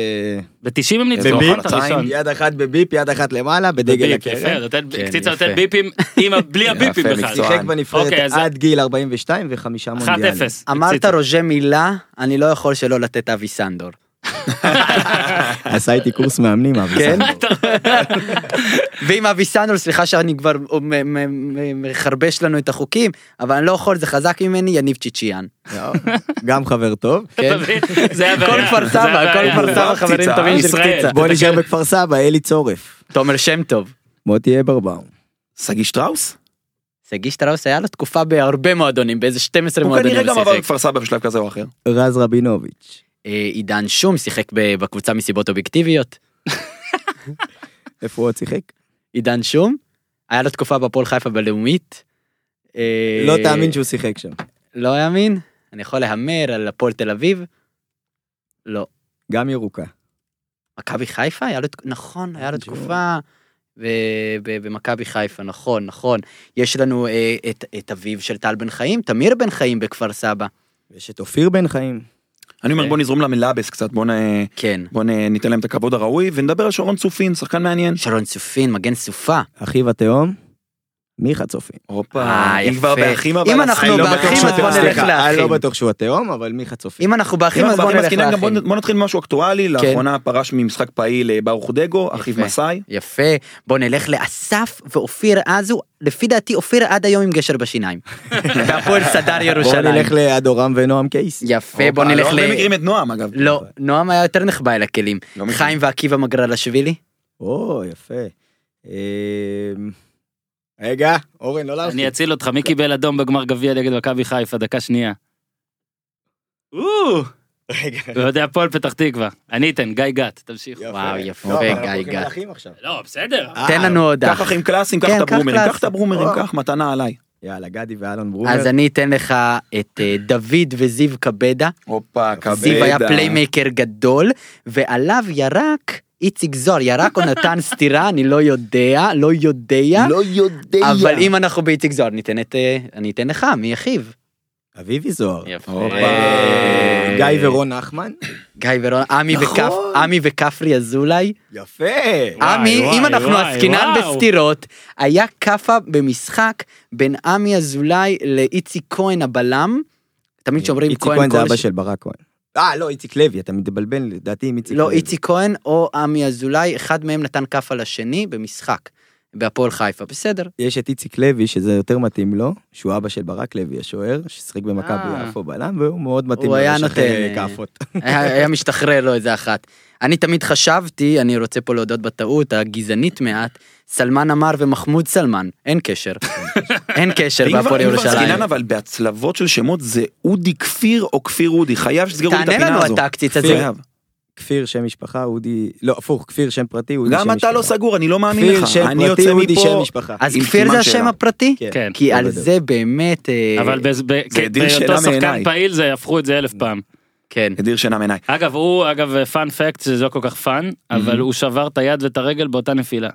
ב-90 הם ניצחו, במי? נכון? את הראשון. יד אחת בביפ, יד אחת למעלה, בדגל בביפ, יפה, הקרן. נותן- כן, קציצה יפה. נותן ביפים, עם ה- בלי הביפים יפה, בכלל. מקצוע. שיחק בנבחרת אוקיי, אז- עד גיל 42 וחמישה 1-0. מונדיאלים. אמרת קציצה. רוז'ה מילה, אני לא יכול שלא לתת אבי סנדור. עשה איתי קורס מאמנים, אבי כן? סנדור. ועם אבי סנדור, סליחה שאני כבר מ- מ- מ- מחרבש לנו את החוקים, אבל אני לא יכול, זה חזק ממני, יניב צ'יצ'יאן. לא- גם חבר טוב. אתה מבין? זה הבעיה. כל כפר זה כן? סבא, כל הבעיה. כפר סבא קציצה, חברים טובים של ישראל. קציצה. בוא נשאר בכפר סבא, אלי צורף. תומר שם טוב. מוטי אברבאום. שגיא שטראוס? שגיא שטראוס היה לו תקופה בהרבה מועדונים, באיזה 12 הוא מועדונים כנראה גם הוא עבר שיחק. בכפר סבא בשלב כזה או אחר. רז רבינוביץ'. אה, עידן שום שיחק ב- בקבוצה מסיבות אובייקטיביות. איפה הוא עוד שיחק? עידן שום, היה לו תקופה בפועל חיפה בלאומית. אה, לא תאמין שהוא שיחק שם. לא יאמין? אני יכול להמר על הפועל תל אביב? לא. גם ירוקה. מכבי חיפה? היה לו, תק- נכון, היה לו ג'ו. תקופה ב- ב- במכבי חיפה, נכון, נכון. יש לנו אה, את- את אביו של טל בן חיים, תמיר בן חיים בכפר סבא. יש את אופיר בן חיים. אני אומר אוקיי. בוא נזרום למלאבס קצת, בוא נ- כן. בוא נ- ניתן להם את הכבוד הראוי, ונדבר על שרון צופין, שחקן מעניין. שרון צופין, מגן סופה. אחיו התהום. מיכה צופין. הופה, אה, אם יפה. כבר באחים אבל... אם אז- אנחנו אני לא באחים, בטוח אז שאתם- בוא נלך סליחה. סליחה, אני לאחים. לא בטוח שהוא התהום, אבל מיכה צופין. אם אנחנו באחים, אם אז אנחנו בוא באחים נלך מסכימים, גם בוא לאחים. כן. נ- בוא נתחיל משהו אקטואלי, לאחרונה פרש ממשחק פעיל אה, ברוך דגו, אחיו יפה. מסאי. יפה, בוא נלך לאסף ואופיר אזו, לפי דעתי אופיר עד היום עם גשר בשיניים. והפועל סדר בואו ירושלים. נלך לאדורם ונועם קייס. יפה, בוא נלך לא הרבה ל... מכירים את נועם אגב. לא, נועם היה יותר נחבא אל הכלים. לא מכיר. חיים ועקיבא מגרלשווילי. או, יפה. אמ, רגע, אורן, לא להרחיב. אני אציל אותך, מי קיבל אדום בגמר גביע נגד מכבי חיפה, דקה שנייה. או, רגע. ואוהדי הפועל פתח תקווה. אני אתן, גיא גת, תמשיך. וואו, יפה, לא, אבל גיא, אנחנו הולכים גיא. לאחים עכשיו. לא, בסדר. אה, תן לנו הודעה. קח אחים קלאסיים, קח כן, את קח הברומרים, קלאסי. קח את הברומרים, או. קח מתנה עליי. יאללה, גדי ואלון ברומר. אז אני אתן לך את אה, דוד וזיו קבדה. הופה, כבדה. זיו היה פליימייקר גדול, ועליו ירק איציק זוהר, ירק או נתן סטירה, אני לא יודע, לא יודע. לא יודע. אבל אם אנחנו באיציק זוהר, ניתן את, אה, אני אתן לך, מי אחיו? אביבי זוהר. יפה. הופה. אה, גיא ורון נחמן. גיא ורון, עמי נכון. וכפ- עמי וכפרי אזולאי. יפה. אה, אה, וואי, עמי, וואי, אם אנחנו וואי, עסקינן וואו. בסתירות, היה כאפה במשחק בין עמי אזולאי לאיציק כהן הבלם. תמיד שאומרים איציק כהן, כהן זה כל אבא ש- של ברק כהן. אה, לא, איציק לוי, אתה מתבלבל לדעתי עם איציק לוי. לא, איציק כהן או עמי אזולאי, אחד מהם נתן כאפה לשני במשחק, בהפועל חיפה, בסדר. יש את איציק לוי, שזה יותר מתאים לו, שהוא אבא של ברק לוי, השוער, ששיחק אה. במכבי יפו בלם, והוא מאוד מתאים הוא לו היה לשחרר נותן, אה, כאפות. היה היה משתחרר לו איזה אחת. אני תמיד חשבתי, אני רוצה פה להודות בטעות, הגזענית מעט, סלמן אמר ומחמוד סלמן, אין קשר. אין קשר אם כבר בהפועל אם כבר ירושלים. עסקינן, אבל בהצלבות של שמות זה אודי כפיר או כפיר אודי, חייב שתסגרו לי את תענה הפינה הזו. לנו אתה הקציץ הזה. חייב. כפיר שם משפחה, אודי... לא, הפוך, כפיר שם פרטי, אודי שם משפחה. גם אתה לא סגור, אני לא מאמין כפיר לך. שם אני פרטי, יוצא אודי שם מפה, משפחה. אז עם כפיר סימן זה שאלה. השם הפרטי? כן. כי על בדיוק. זה באמת... אה, אבל בז- ב- כ- הדיר בהיותו שינה שחקן מעיניי. פעיל זה הפכו את זה אלף פעם. כן. הדיר שינה מעיניי. אגב הוא אגב פאן פקט שזה לא כל כך פאן אבל הוא שבר את היד ואת הרגל באותה נפילה.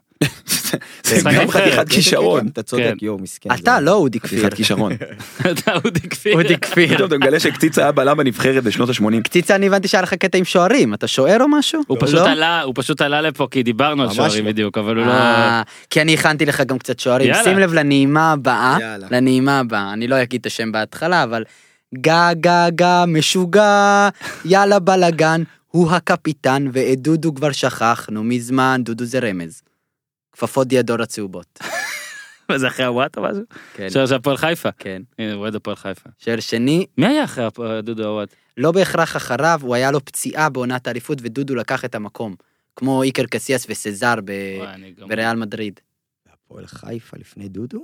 זה שחקן גם אחר. חתיכת כישרון. כן. אתה צודק, יואו, מסכן. אתה זה- לא אודי כפיר. חתיכת כישרון. אתה אודי כפיר. אודי כפיר. פתאום אתה מגלה שקציצה היה בלם בנבחרת בשנות ה-80. קציצה, אני הבנתי שהיה לך קטע עם שוערים, אתה שוער או משהו? הוא פשוט לא? עלה הוא פשוט עלה לפה כי דיברנו על ממש שוערים לא. בדיוק אבל הוא לא. אה, כי אני הכנתי לך גם קצת שוערים. יאללה. שים לב לנעימה הבאה, יאללה. לנעימה הבאה, אני לא אגיד את השם בהתחלה, אבל גה גה גה משוגע, יאללה בלאגן, הוא הקפיטן ואת דודו כבר שכחנו מזמן, דודו זה רמז. כפפות דיאדור הצהובות. זה אחרי הוואט או משהו? כן, שוער של הפועל חיפה. כן. הנה הוא אוהד הפועל חיפה. שוער שני, מי היה אחרי הפ- אה, דודו הוואט? לא בהכרח אחריו, הוא היה לו פציעה בעונת האליפות ודודו לקח את המקום. כמו איקר קסיאס וסזאר ב... וואי, אני גם- בריאל מדריד. הפועל חיפה לפני דודו?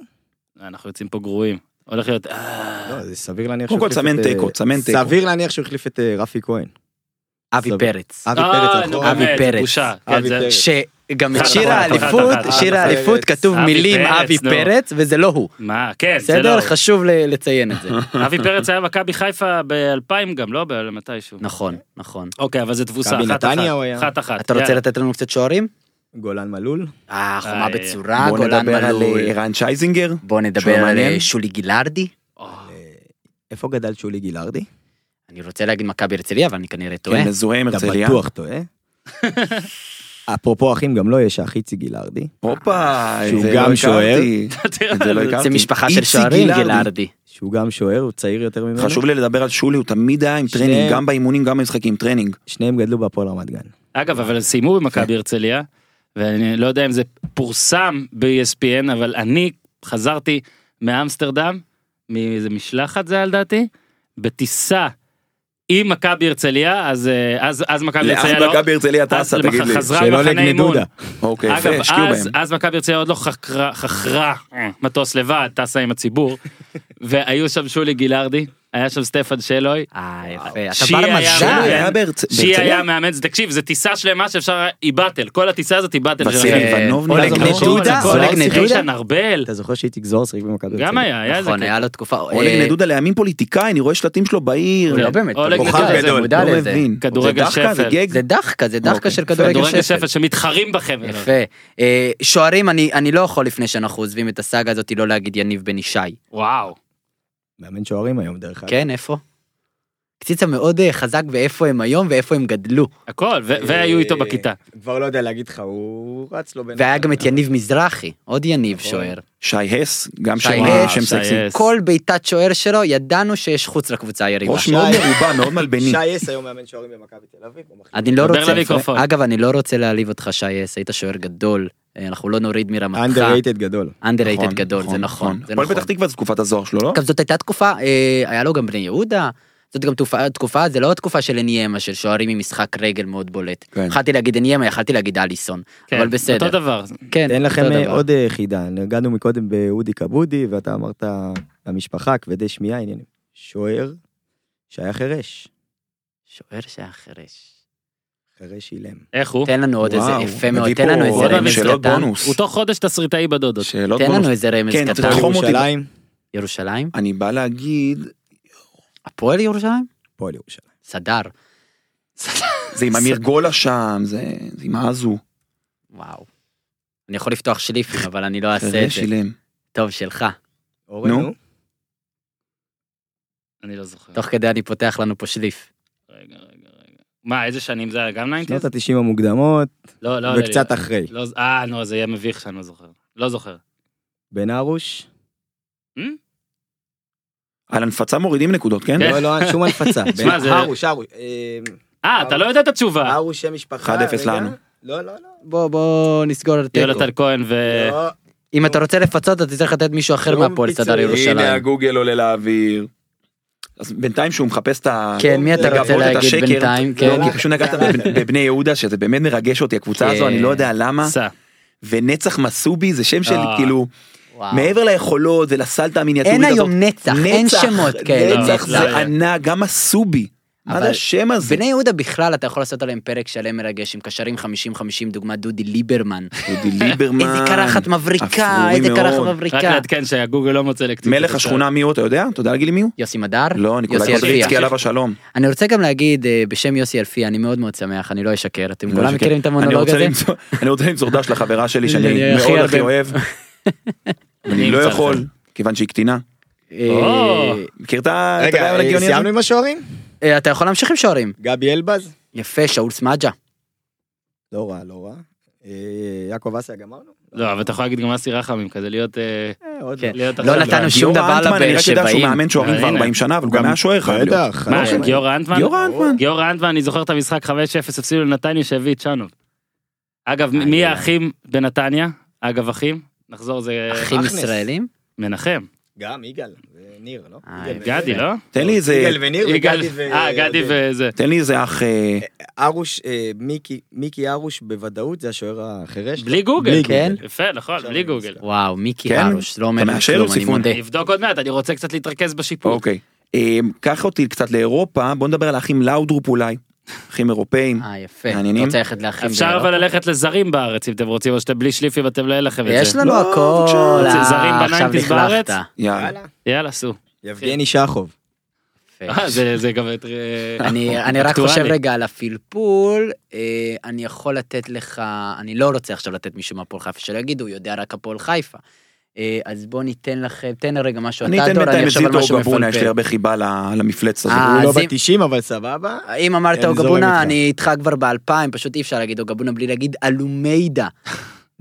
אנחנו יוצאים פה גרועים. הולך להיות אה, לא, זה סביר להניח קודם שהוא כל החליף צמן את, תיקו, אה, צמן תיקו. סביר להניח שהוא החליף את אה, רפי כהן. אבי סבבה. פרץ. אבי אה, פרץ, נו, נכון. אבי באמת, פרץ. בושה. אבי כן, זה- פרץ. שגם את אחד, שיר אחד, האליפות, אחד, אחד, שיר אחד, האליפות אחד. כתוב אבי מילים פרץ, אבי נו. פרץ, וזה לא הוא. מה כן זה לא. בסדר? חשוב ל- לציין את זה. אבי פרץ היה מכבי חיפה ב-2000 גם לא במתישהו. נכון, נכון. אוקיי אבל זה תבוסה מכבי אחת נתניה הוא אחת. היה. אחת אחת. אתה רוצה יאללה. לתת לנו קצת שוערים? גולן מלול. אה, חומה איי. בצורה, בוא גולן נדבר על מלול. אה, ערן שייזינגר. בוא נדבר שוער על מעניין. אה, שולי גילארדי. אה, איפה גדל שולי גילארדי? אני רוצה להגיד מכבי הרצליה, אבל אני כנראה טועה. כן, מזוהה עם אתה הרצליה. בטוח טועה. אפרופו אחים, גם לו יש האח איציק גילארדי. הופה, שהוא זה גם לא שוער. הכרתי. את זה לא הכרתי. זה משפחה של איציק שוערים, גלעדי. גילארדי. שהוא גם שוער, הוא צעיר יותר ממנו. חשוב לי לדבר על שולי, הוא תמיד היה עם שניהם. טרנינג, גם באימונים, גם במשחקים, טרנינג. שניהם גדלו בהפועל רמת גן. אגב, אבל הם סיימו במכבי הרצליה, ואני לא יודע אם זה פורסם ב-ESPN, אבל אני חזרתי מאמסטרדם, מאיזה משלחת זה היה לדעתי, בטיסה עם מכבי הרצליה, אז, אה, אז, אז מכבי הרצליה לאן לא... מכבי הרצליה אז טסה, תגיד לי. חזרה שלא למחנה אימון. לגנדודה. אוקיי, יפה, אגב, השקיעו אז, בהם. אז מכבי הרצליה עוד לא חכרה, חכרה אה, מטוס לבד, טסה עם הציבור, והיו שם שולי גילארדי, היה שם סטפן שלוי, אה, יפה. אתה אה, שיר בר היה שולי מעולה. מזל. היה בארצ- שהיא בהרצליה? היה מאמץ, תקשיב, זו טיסה שלמה שאפשר, היא באטל, כל הטיסה הזאת היא באטל. וסילי שלכם. כן. איוונוב אולג נעזור. נדודה, הכל, אולג הכל, נדודה. רישן ארבל, אתה זוכר שאיציק זוהר שיחק במכבי גם היה, היה זה. נכון, היה לו תקופה... אה, אולג נדודה לימים פוליטיקאי, אני רואה שלטים שלו בעיר. לא באמת, אולג אתה נדודה זה מודע לזה, מודע לא לזה. מבין. כדורגל זה דחקה, זה שפל. גג? זה דחקה, זה דחקה אוקיי. של כדורגל כדורגל שפל שפל. שמתחרים בכם. יפה. אה, שוערים, אני אני לא יכול לפני שאנחנו עוזבים את הסאגה הזאת לא להגיד יניב בן ישי. וואו. מאמן שוערים היום, דרך אגב. כן, איפה? קציצה מאוד אה, חזק באיפה הם היום ואיפה הם גדלו. הכל, ו- והיו איתו בכיתה. אה, כבר לא יודע להגיד לך, הוא רץ לו בין... והיה גם את יניב מזרחי, עוד יניב שוער. שי הס, גם שי שם הס. שם סקסי. שי הס. כל בעיטת שוער שלו, ידענו שיש חוץ לקבוצה היריבה. ראש מאוד שי. מרובע, מאוד מלבני. שי אס היום מאמן שוערים במכבי תל אביב. הוא מחליף. אני לא דבר רוצה, למיקרופון. אגב, אני לא רוצה להעליב אותך, שי אס, היית שוער גדול, אה, אנחנו לא נוריד מרמתך. underrated גדול. אנדררייטד גדול, זה נכון. זה הפועל נכון. פתח תקווה זה תקופת הזוהר שלו, לא? גם זאת הייתה תקופה, אה, היה לו גם בני יהודה, זאת גם תופעה, תקופה, זה לא התקופה של אניימה, של שוערים עם משחק רגל מאוד בולט. כן. יכלתי להגיד אניימה, יכלתי להגיד אליסון, כן, אבל בסדר. אותו דבר. כן, תן לכם אותו אה, דבר. עוד אה, חידה, נגענו מקודם באודי כבודי, ואתה אמרת, המשפחה, כבדי שמיעה, עניינים. שוער שהיה חירש. שוער שהיה חירש. אחרי שילם. איך הוא? תן לנו עוד איזה, וואו, יפה מאוד, מביא תן לנו פה איזה רמז שאלות קטן. בונוס. הוא תוך חודש תסריטאי בדודות. שאלות תן בונוס. לנו איזה רמז כן, קטן. תתחום אותי. ירושלים, ירושלים? אני בא להגיד, הפועל ירושלים? פועל ירושלים. סדר. זה עם אמיר גולה שם, זה זה עם עזו. וואו. אני יכול לפתוח שליפים, אבל אני לא אעשה את חירש זה. שילם. טוב, שלך. אורן, נו. נו. אני לא זוכר. תוך כדי אני פותח לנו פה שליף. רגע, רגע, רגע. מה, איזה שנים זה היה? גם שנות 90? ה-90 המוקדמות, לא, לא. עולה לי. וקצת אחרי. לא ז- אה, נו, זה יהיה מביך שאני לא זוכר. לא זוכר. בן ארוש. על הנפצה מורידים נקודות, כן? כן. לא, לא, שום הנפצה. תשמע, בן- זה- ארוש, ארוש. אה, אה, אתה לא יודע את התשובה. ארוש שם משפחה. 1-0 רגע. לנו. לא, לא, לא. בוא, בוא נסגור על תיקו. יונתן כהן ו... אה. לא. אם אתה רוצה לפצות, אתה צריך לתת מישהו אחר לא מהפועל פיצוי. סדר הנה ירושלים. הגוגל עולה לאוויר. אז בינתיים שהוא מחפש את ה... כן, מי אתה לגבות רוצה את להגיד השקר, בינתיים? כן. לא, כי פשוט נגעת בבני- בבני יהודה, שזה באמת מרגש אותי, הקבוצה הזו, כן. אני לא יודע למה. סע. ונצח מסובי זה שם של אה. כאילו, וואו. מעבר ליכולות ולסלטה אין המיניאטורית הזאת. היום נצח, אין שמות כאלה. נצח לא, זה לא. ענק, גם הסובי. מה אבל- זה השם הזה? בני יהודה בכלל, אתה יכול לעשות עליהם פרק שלם מרגש עם קשרים 50-50, דוגמת דודי ליברמן. דודי ליברמן. איזה קרחת מבריקה, אפורי איזה מאוד. קרחת רק מבריקה. לעדכן שהגוגל לא מוצא לקטיפה. מלך השכונה מי הוא, אתה יודע? אתה יודע להגיד לי מי הוא? יוסי מדר? לא, ניקולאי יוסי קודריצקי אלפיה. עליו השלום. אני רוצה גם להגיד אה, בשם יוסי אלפי, אני מאוד מאוד שמח, אני לא אשקר, אתם לא כולם שכן. מכירים את אני המונולוג רוצה הזה? למצוא- אני רוצה למצוא דש לחברה שלי שאני אני הכי מאוד הכי הרבה- אוהב. אני לא אמצא לך. יכול, כיוון שהיא קטינה. אה, או. מכיר את ה... את רגע, הרעיון אה, הגאוני הזה? סיימנו עם השוערים? אה, אתה יכול להמשיך עם שוערים. גבי אלבז? יפה, שאול סמג'ה. אה, לא רע, לא רע. אה, יעקב אסיה גמרנו? לא, אבל אתה יכול להגיד גם אסי רחמים, כזה להיות... אה, אה, עוד כן. להיות לא עכשיו- נתנו שום גיורא דבר אנטמן, אני לבאר רק יודע שהוא שבעים. מאמן שוערים כבר הנה. 40 שנה, אבל הוא גם היה שוער חייב להיות. בטח. לא מה, חלום. גיורא אנטמן? גיורא אנטמן. גיורא אנטמן, אני זוכר את המשחק 5-0, הפסידו לנתניה שהביא את צ'אנוב. אגב, איי, מי איי. האחים בנתניה? אגב, אחים? נחזור, זה... אחים אחנס. ישראלים? מנחם. גם יגאל וניר, לא? אה, יגאל גדי, וניר. לא? תן לי איזה... יגאל וניר יגאל- וגדי ו... אה, גדי וזה. תן לי איזה אח... אה, ארוש, אה, מיקי- מיקי ארוש בוודאות זה השוער החירש. בלי גוגל. כן? יפה, נכון, בלי גוגל. וואו, מיקי כן? הרוש, לא אומר אתה לי מאשר כלום, או אני סיפון? מודה. נבדוק עוד מעט, אני רוצה קצת להתרכז בשיפור. אוקיי. אה, קח אותי קצת לאירופה, בוא נדבר על האחים לאודרופ אולי. אחים אירופאים. אה, יפה. מעניינים? רוצה ללכת לא? לאחים אפשר באירופה? אבל ללכת לזרים בארץ, אם אתם רוצים, או שאתם בלי שליפים, אתם לא יהיה לכם את יש זה. לנו לא, הכל, בבקשה. אה, זרים עכשיו בניינטיז בארץ? לכלכת. יאללה. יאללה. יאללה, סעו. יבגני שחוב. יפה. אה, זה- זה גם את... אה, אני, אני רק אקטואלי. חושב רגע על הפלפול, אה, אני יכול לתת לך, אני לא רוצה עכשיו לתת מישהו מהפועל חיפה, שלא יגידו, הוא יודע רק הפועל חיפה. אה, אז בוא ניתן לכם, תן רגע משהו, אני אתה אתן דור, בינתיים אני את אחשוב על משהו זיטו גבונה, יש לי מפלפל. הרבה חיבה ל- למפלץ הזה. אה, הוא לא אז אם- ב-90 אבל סבבה. אם אמרת כן, זורם אוגבונה, איתך. אני איתך כבר באלפיים, פשוט אי אפשר להגיד אוגבונה בלי להגיד אלומיידה.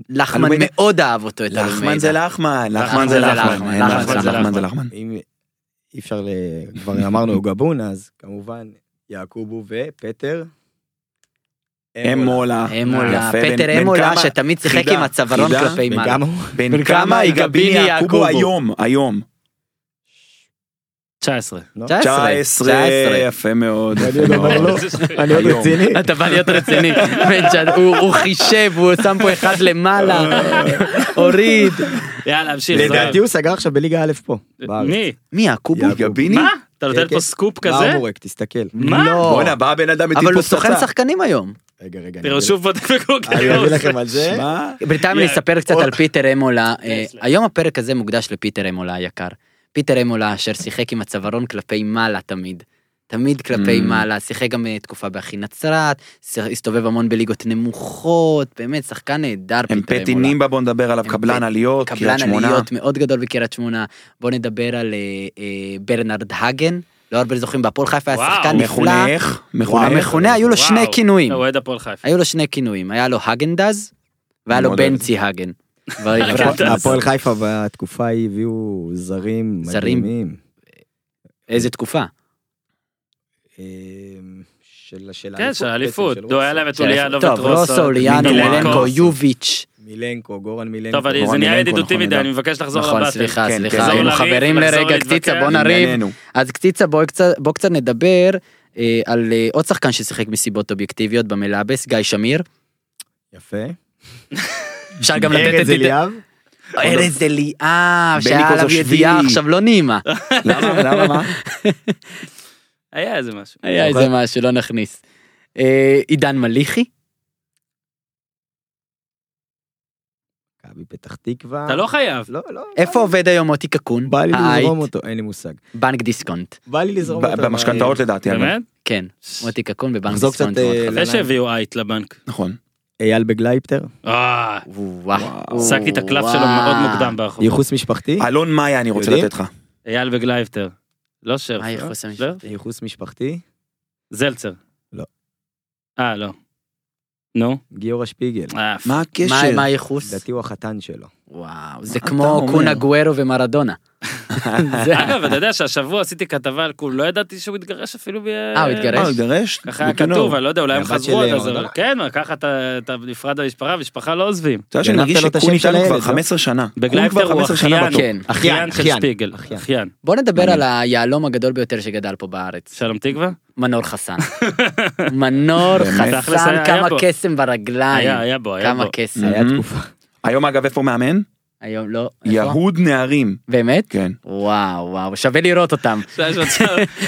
לחמן אלומיידה. מאוד אהב אותו, את לחמן זה אלומיידה. לחמן, לחמן זה לחמן, אין לחמן זה לחמן זה לחמן. אם אי אפשר, ל- כבר אמרנו גבון, אז כמובן יעקובו ופטר. אמולה, אמולה, יפה, בן- פטר בן אמולה, כמה- שתמיד שיחק חידה, עם הצווארון חידה, כלפי מעלה. וגם הוא. בן כמה יגביני יעקובו היום, היום. 19. 19, 19. יפה מאוד. לא? אני יפה עוד מאוד. אומר לו, אני עוד היום. רציני. אתה בא להיות רציני, בן שד- הוא הוא חישב, הוא שם פה אחד למעלה, הוריד. יאללה, המשיך. זוהר. לדעתי הוא סגר עכשיו בליגה א' פה. בארץ. מי? מי הקובו? יעקב. יגביני? מה? אתה נותן כן, פה כן. סקופ כזה? ברבורק, תסתכל. מה? בואנה, בא הבן אדם מטיל לא. אבל פה הוא סוכן פצצה. שחקנים היום. רגע, רגע. אני תראו, אביא- שוב בודק אני בגוגל. אביא לכם על זה. מה? בינתיים יא- אני אספר קצת על פיטר אמולה. אה, סליחה. היום הפרק הזה מוקדש לפיטר אמולה היקר. פיטר אמולה אשר שיחק עם הצווארון כלפי מעלה תמיד. תמיד כלפי Mm. מעלה, שיחק גם אה, תקופה באחי נצרת, ש- הסתובב המון בליגות נמוכות, באמת שחקן נהדר פיטר הם אמולה. פטי נימבה, בוא נדבר עליו, הם קבלן פט- עליות, קבלן קריית שמונה. עליות מאוד גדול בקריית שמונה. בוא נדבר על אה, אה, ברנרד הגן, לא הרבה זוכרים, בהפועל חיפה היה וואו. שחקן נפלא. מחונך, מחונך. המכונה היו לו וואו. שני כינויים, אוהד הפועל חיפה. היו לו שני כינויים, היה לו הגנדז והיה לו מאוד אוהב. בנצי הגן. הגנדז. והברנדז. הפועל חיפה בתקופה ההיא הביאו זרים זרים. מדהימים. איזה תקופה. אמ, של של כן, של האליפות. בעצם, של לא, היה להם את רוסו. אוליאנו טוב, רוסו, אוליאנו, מילנקו. מילנקו, יוביץ'. מילנקו, גורן מילנקו. טוב, אני- זה גורם נהיה מילנקו, ידידותי נכון, מדי, אדם. אני מבקש לחזור נכון, לבטל. סליחה, כן, סליחה, כן, היינו לחזור חברים לריב, לחזור לרגע, קציצה, כן, בוא נריב. ענייננו. אז קציצה, בוא קצת- בוא קצת נדבר אה, על אה, עוד שחקן ששיחק מסיבות אובייקטיביות במלאבס, גיא שמיר. יפה. אפשר גם לתת את אה, ארז זה. אליאב. ארז אליאב, אה, שהיה עליו קוזושווילי. אה, ידיעה עכשיו לא נעימה. למה, למה, מה? היה איזה משהו. היה אוקיי. איזה משהו, לא נכניס. אה, עידן מליחי? מכבי פתח תקווה. אתה לא חייב. לא, לא. איפה עובד אה, היום מוטי קקון? בא לי היי, לזרום אותו, אין לי מושג. בנק דיסקונט. בא לי לזרום אותו. ב- במשכנתאות אבל- לדעתי. אבל. באמת? כן, מוטי קקון בבנק נחזור דיסקונט. קצת, מאוד אה, חזק. אחרי שהביאו אייט לבנק. נכון. אייל בגלייפטר, אה, וואו. השגתי את הקלף שלו מאוד מוקדם ברחוב. ייחוס משפחתי. אלון מאיה אני רוצה יודעים? לתת לך. אייל וגלייבטר. לא שרף. מה אה? הייחוס המשפטי? שרף? ייחוס משפחתי, זלצר. לא. אה, לא. נו. גיורא שפיגל. אה, פ- מה מה- הקשר? מה הייחוס? לדעתי הוא החתן שלו. וואו, זה אתה כמו אומר? קונה גוארו ומרדונה. זה- אגב, אתה יודע שהשבוע עשיתי כתבה על קול, לא ידעתי שהוא התגרש אפילו ב... אה, הוא התגרש? אה, לגרש? ככה היה בכינור. כתוב, אני לא יודע, אולי הם הבת חזרו עד של אז, אבל מרדונה? כן, אבל ככה אתה אתה נפרד מהמשפחה, המשפחה לא עוזבים. אתה יודע שאני גנבת מרגיש לו את שקון השם של איתנו הילד, כבר לא? 15 שנה. קון בגלייבטר כבר הוא 15 שנה אחיין, בתור. כן. אחיין של אחיין, שפיגל, אחיין. אחיין. בוא נדבר על היהלום הגדול ביותר שגדל פה בארץ, שלום תקווה? מנור חסן. מנור באמת? תכלס חסן, היה כמה בו. קסם ברגליים. היה, היה בו, היה כמה בו. קסם. Mm-hmm. היה Mhm. תקופה. היום אגב איפה הוא מאמן? היום לא. איפה? יהוד נערים. באמת? כן. וואו, וואו, שווה לראות אותם.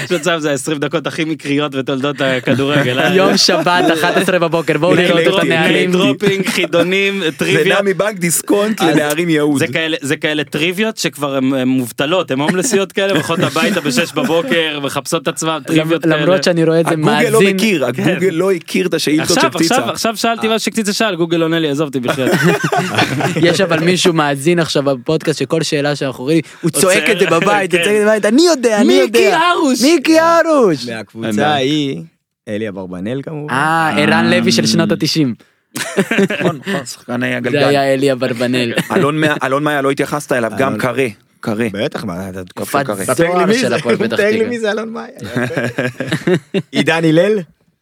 שצם זה 20 דקות הכי מקריות בתולדות הכדורגל. אה? יום לא שבת, 11 בבוקר, בואו לילה לראות את דרופי, הנערים. לילה דרופינג, חידונים, זה טריוויה. נע מבנק דיסקונט לנערים יהוד. זה כאלה, זה כאלה טריוויות שכבר הן הן מובטלות, הן הומלסיות כאלה, הולכות הביתה בשש בבוקר, מחפשות את עצמן, טריוויות כאלה. למרות שאני רואה את זה הגוגל לא מאזין. מכיר, הגוגל לא הכיר את השאילתות כן. עכשיו, של קציצה. עכשיו, עכשיו שאלתי מה שקציצה שאל, גוגל עונה לי, עזוב אותי בכלל. יש אבל מישהו מאזין עכשיו בפודקאסט שכל שאלה שאנחנו רואים, הוא צועק צועק, את זה בבית, הוא כן. צועק את זה בבית, אני יודע, אני יודע. מיקי ארוש! מיקי ארוש! אין מהקבוצה בעיה. ההיא, אלי אברבנאל כמובן. אה, ערן לוי של שנות התשעים. נכון, נכון, שחקני זה הגלגל. היה אלי אברבנאל. אלון מה- אלון מאיה לא התייחסת אליו, גם אלון. קרה. קרה. בטח, מה, אתה כפר תקופת קרע. זוהר של הפועל פתח תאר לי תקווה. מי זה אלון מאיה. עידן הלל?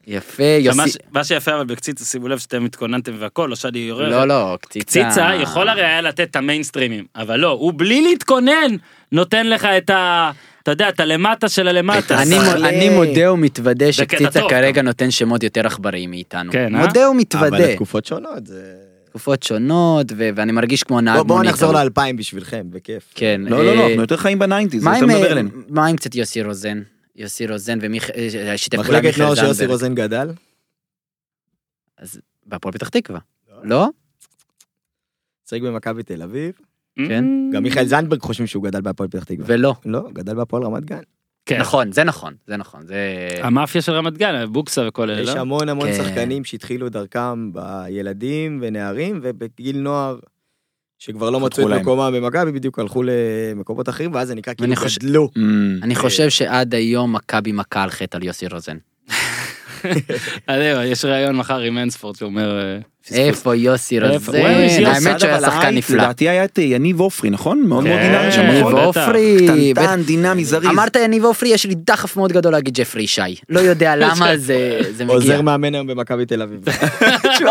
יפה, מה ש- יוסי. מה שיפה אבל בקציצה, שימו לב שאתם התכוננתם והכל, לא שאני יורה. לא, לא, קציצה. קציצה יכול הרי היה לתת את המיינסטרימים, אבל לא, הוא בלי להתכונן נותן לך את ה... אתה יודע, את הלמטה של הלמטה. אה, אני מ- סחלה. אני מודה ומתוודה בקטע שקציצה טוב, כרגע גם. נותן שמות יותר עכבריים מאיתנו. כן, אה? מודה ומתוודה. אבל תקופות שונות. זה- תקופות שונות, ו- ואני מרגיש כמו נהג בוא- מונית. בואו נחזור אבל- לאלפיים בשבילכם, בכיף. כן. לא, לא, אה, לא, אנחנו יותר חיים בניינטיז, זה מה יותר עם, מדבר אה, אלינו. מה עם קצת יוסי רוזן? יוסי רוזן ומיכאל, שיתף פעולה עם מחלקת מיכאל נוער שיוסי זנדברג. רוזן גדל? בהפועל פתח תקווה. לא? שיחק במכבי תל אביב. אה? כן. גם מיכאל זנדברג חושבים שהוא גדל בהפועל פתח תקווה. ולא. לא, גדל בהפועל רמת גן. כן. נכון, זה נכון, זה נכון. זה... המאפיה של רמת גן, בוקסה וכל יש אלה, לא? המון המון כן. שחקנים שהתחילו דרכם בילדים ונערים ובגיל נוער שכבר לא מצאו להם. את מקומם במכבי בדיוק הלכו למקומות אחרים ואז זה נקרא כאילו ואני חושב- גדלו. אמ, אני חושב שעד היום מכבי מכה על חטא על יוסי רוזן. אז אה, זהו, יש ראיון מחר עם אינספורט שאומר... אה, פספוס. איפה יוסי איפה? רוזן? הוא היה אה, יוסי אה, האמת שהיה אבל שחקן היי, נפלא. לדעתי היה את אה, יניב עופרי, נכון? מאוד מאוד כן, דינמי שם יניב בחוד. עופרי. ועופרי. קטנטן, דינמי, זריז. אמרת יניב עופרי, יש לי דחף מאוד גדול להגיד ג'פרי ישי. לא יודע למה זה זה מגיע. עוזר מאמן היום במכבי תל אביב.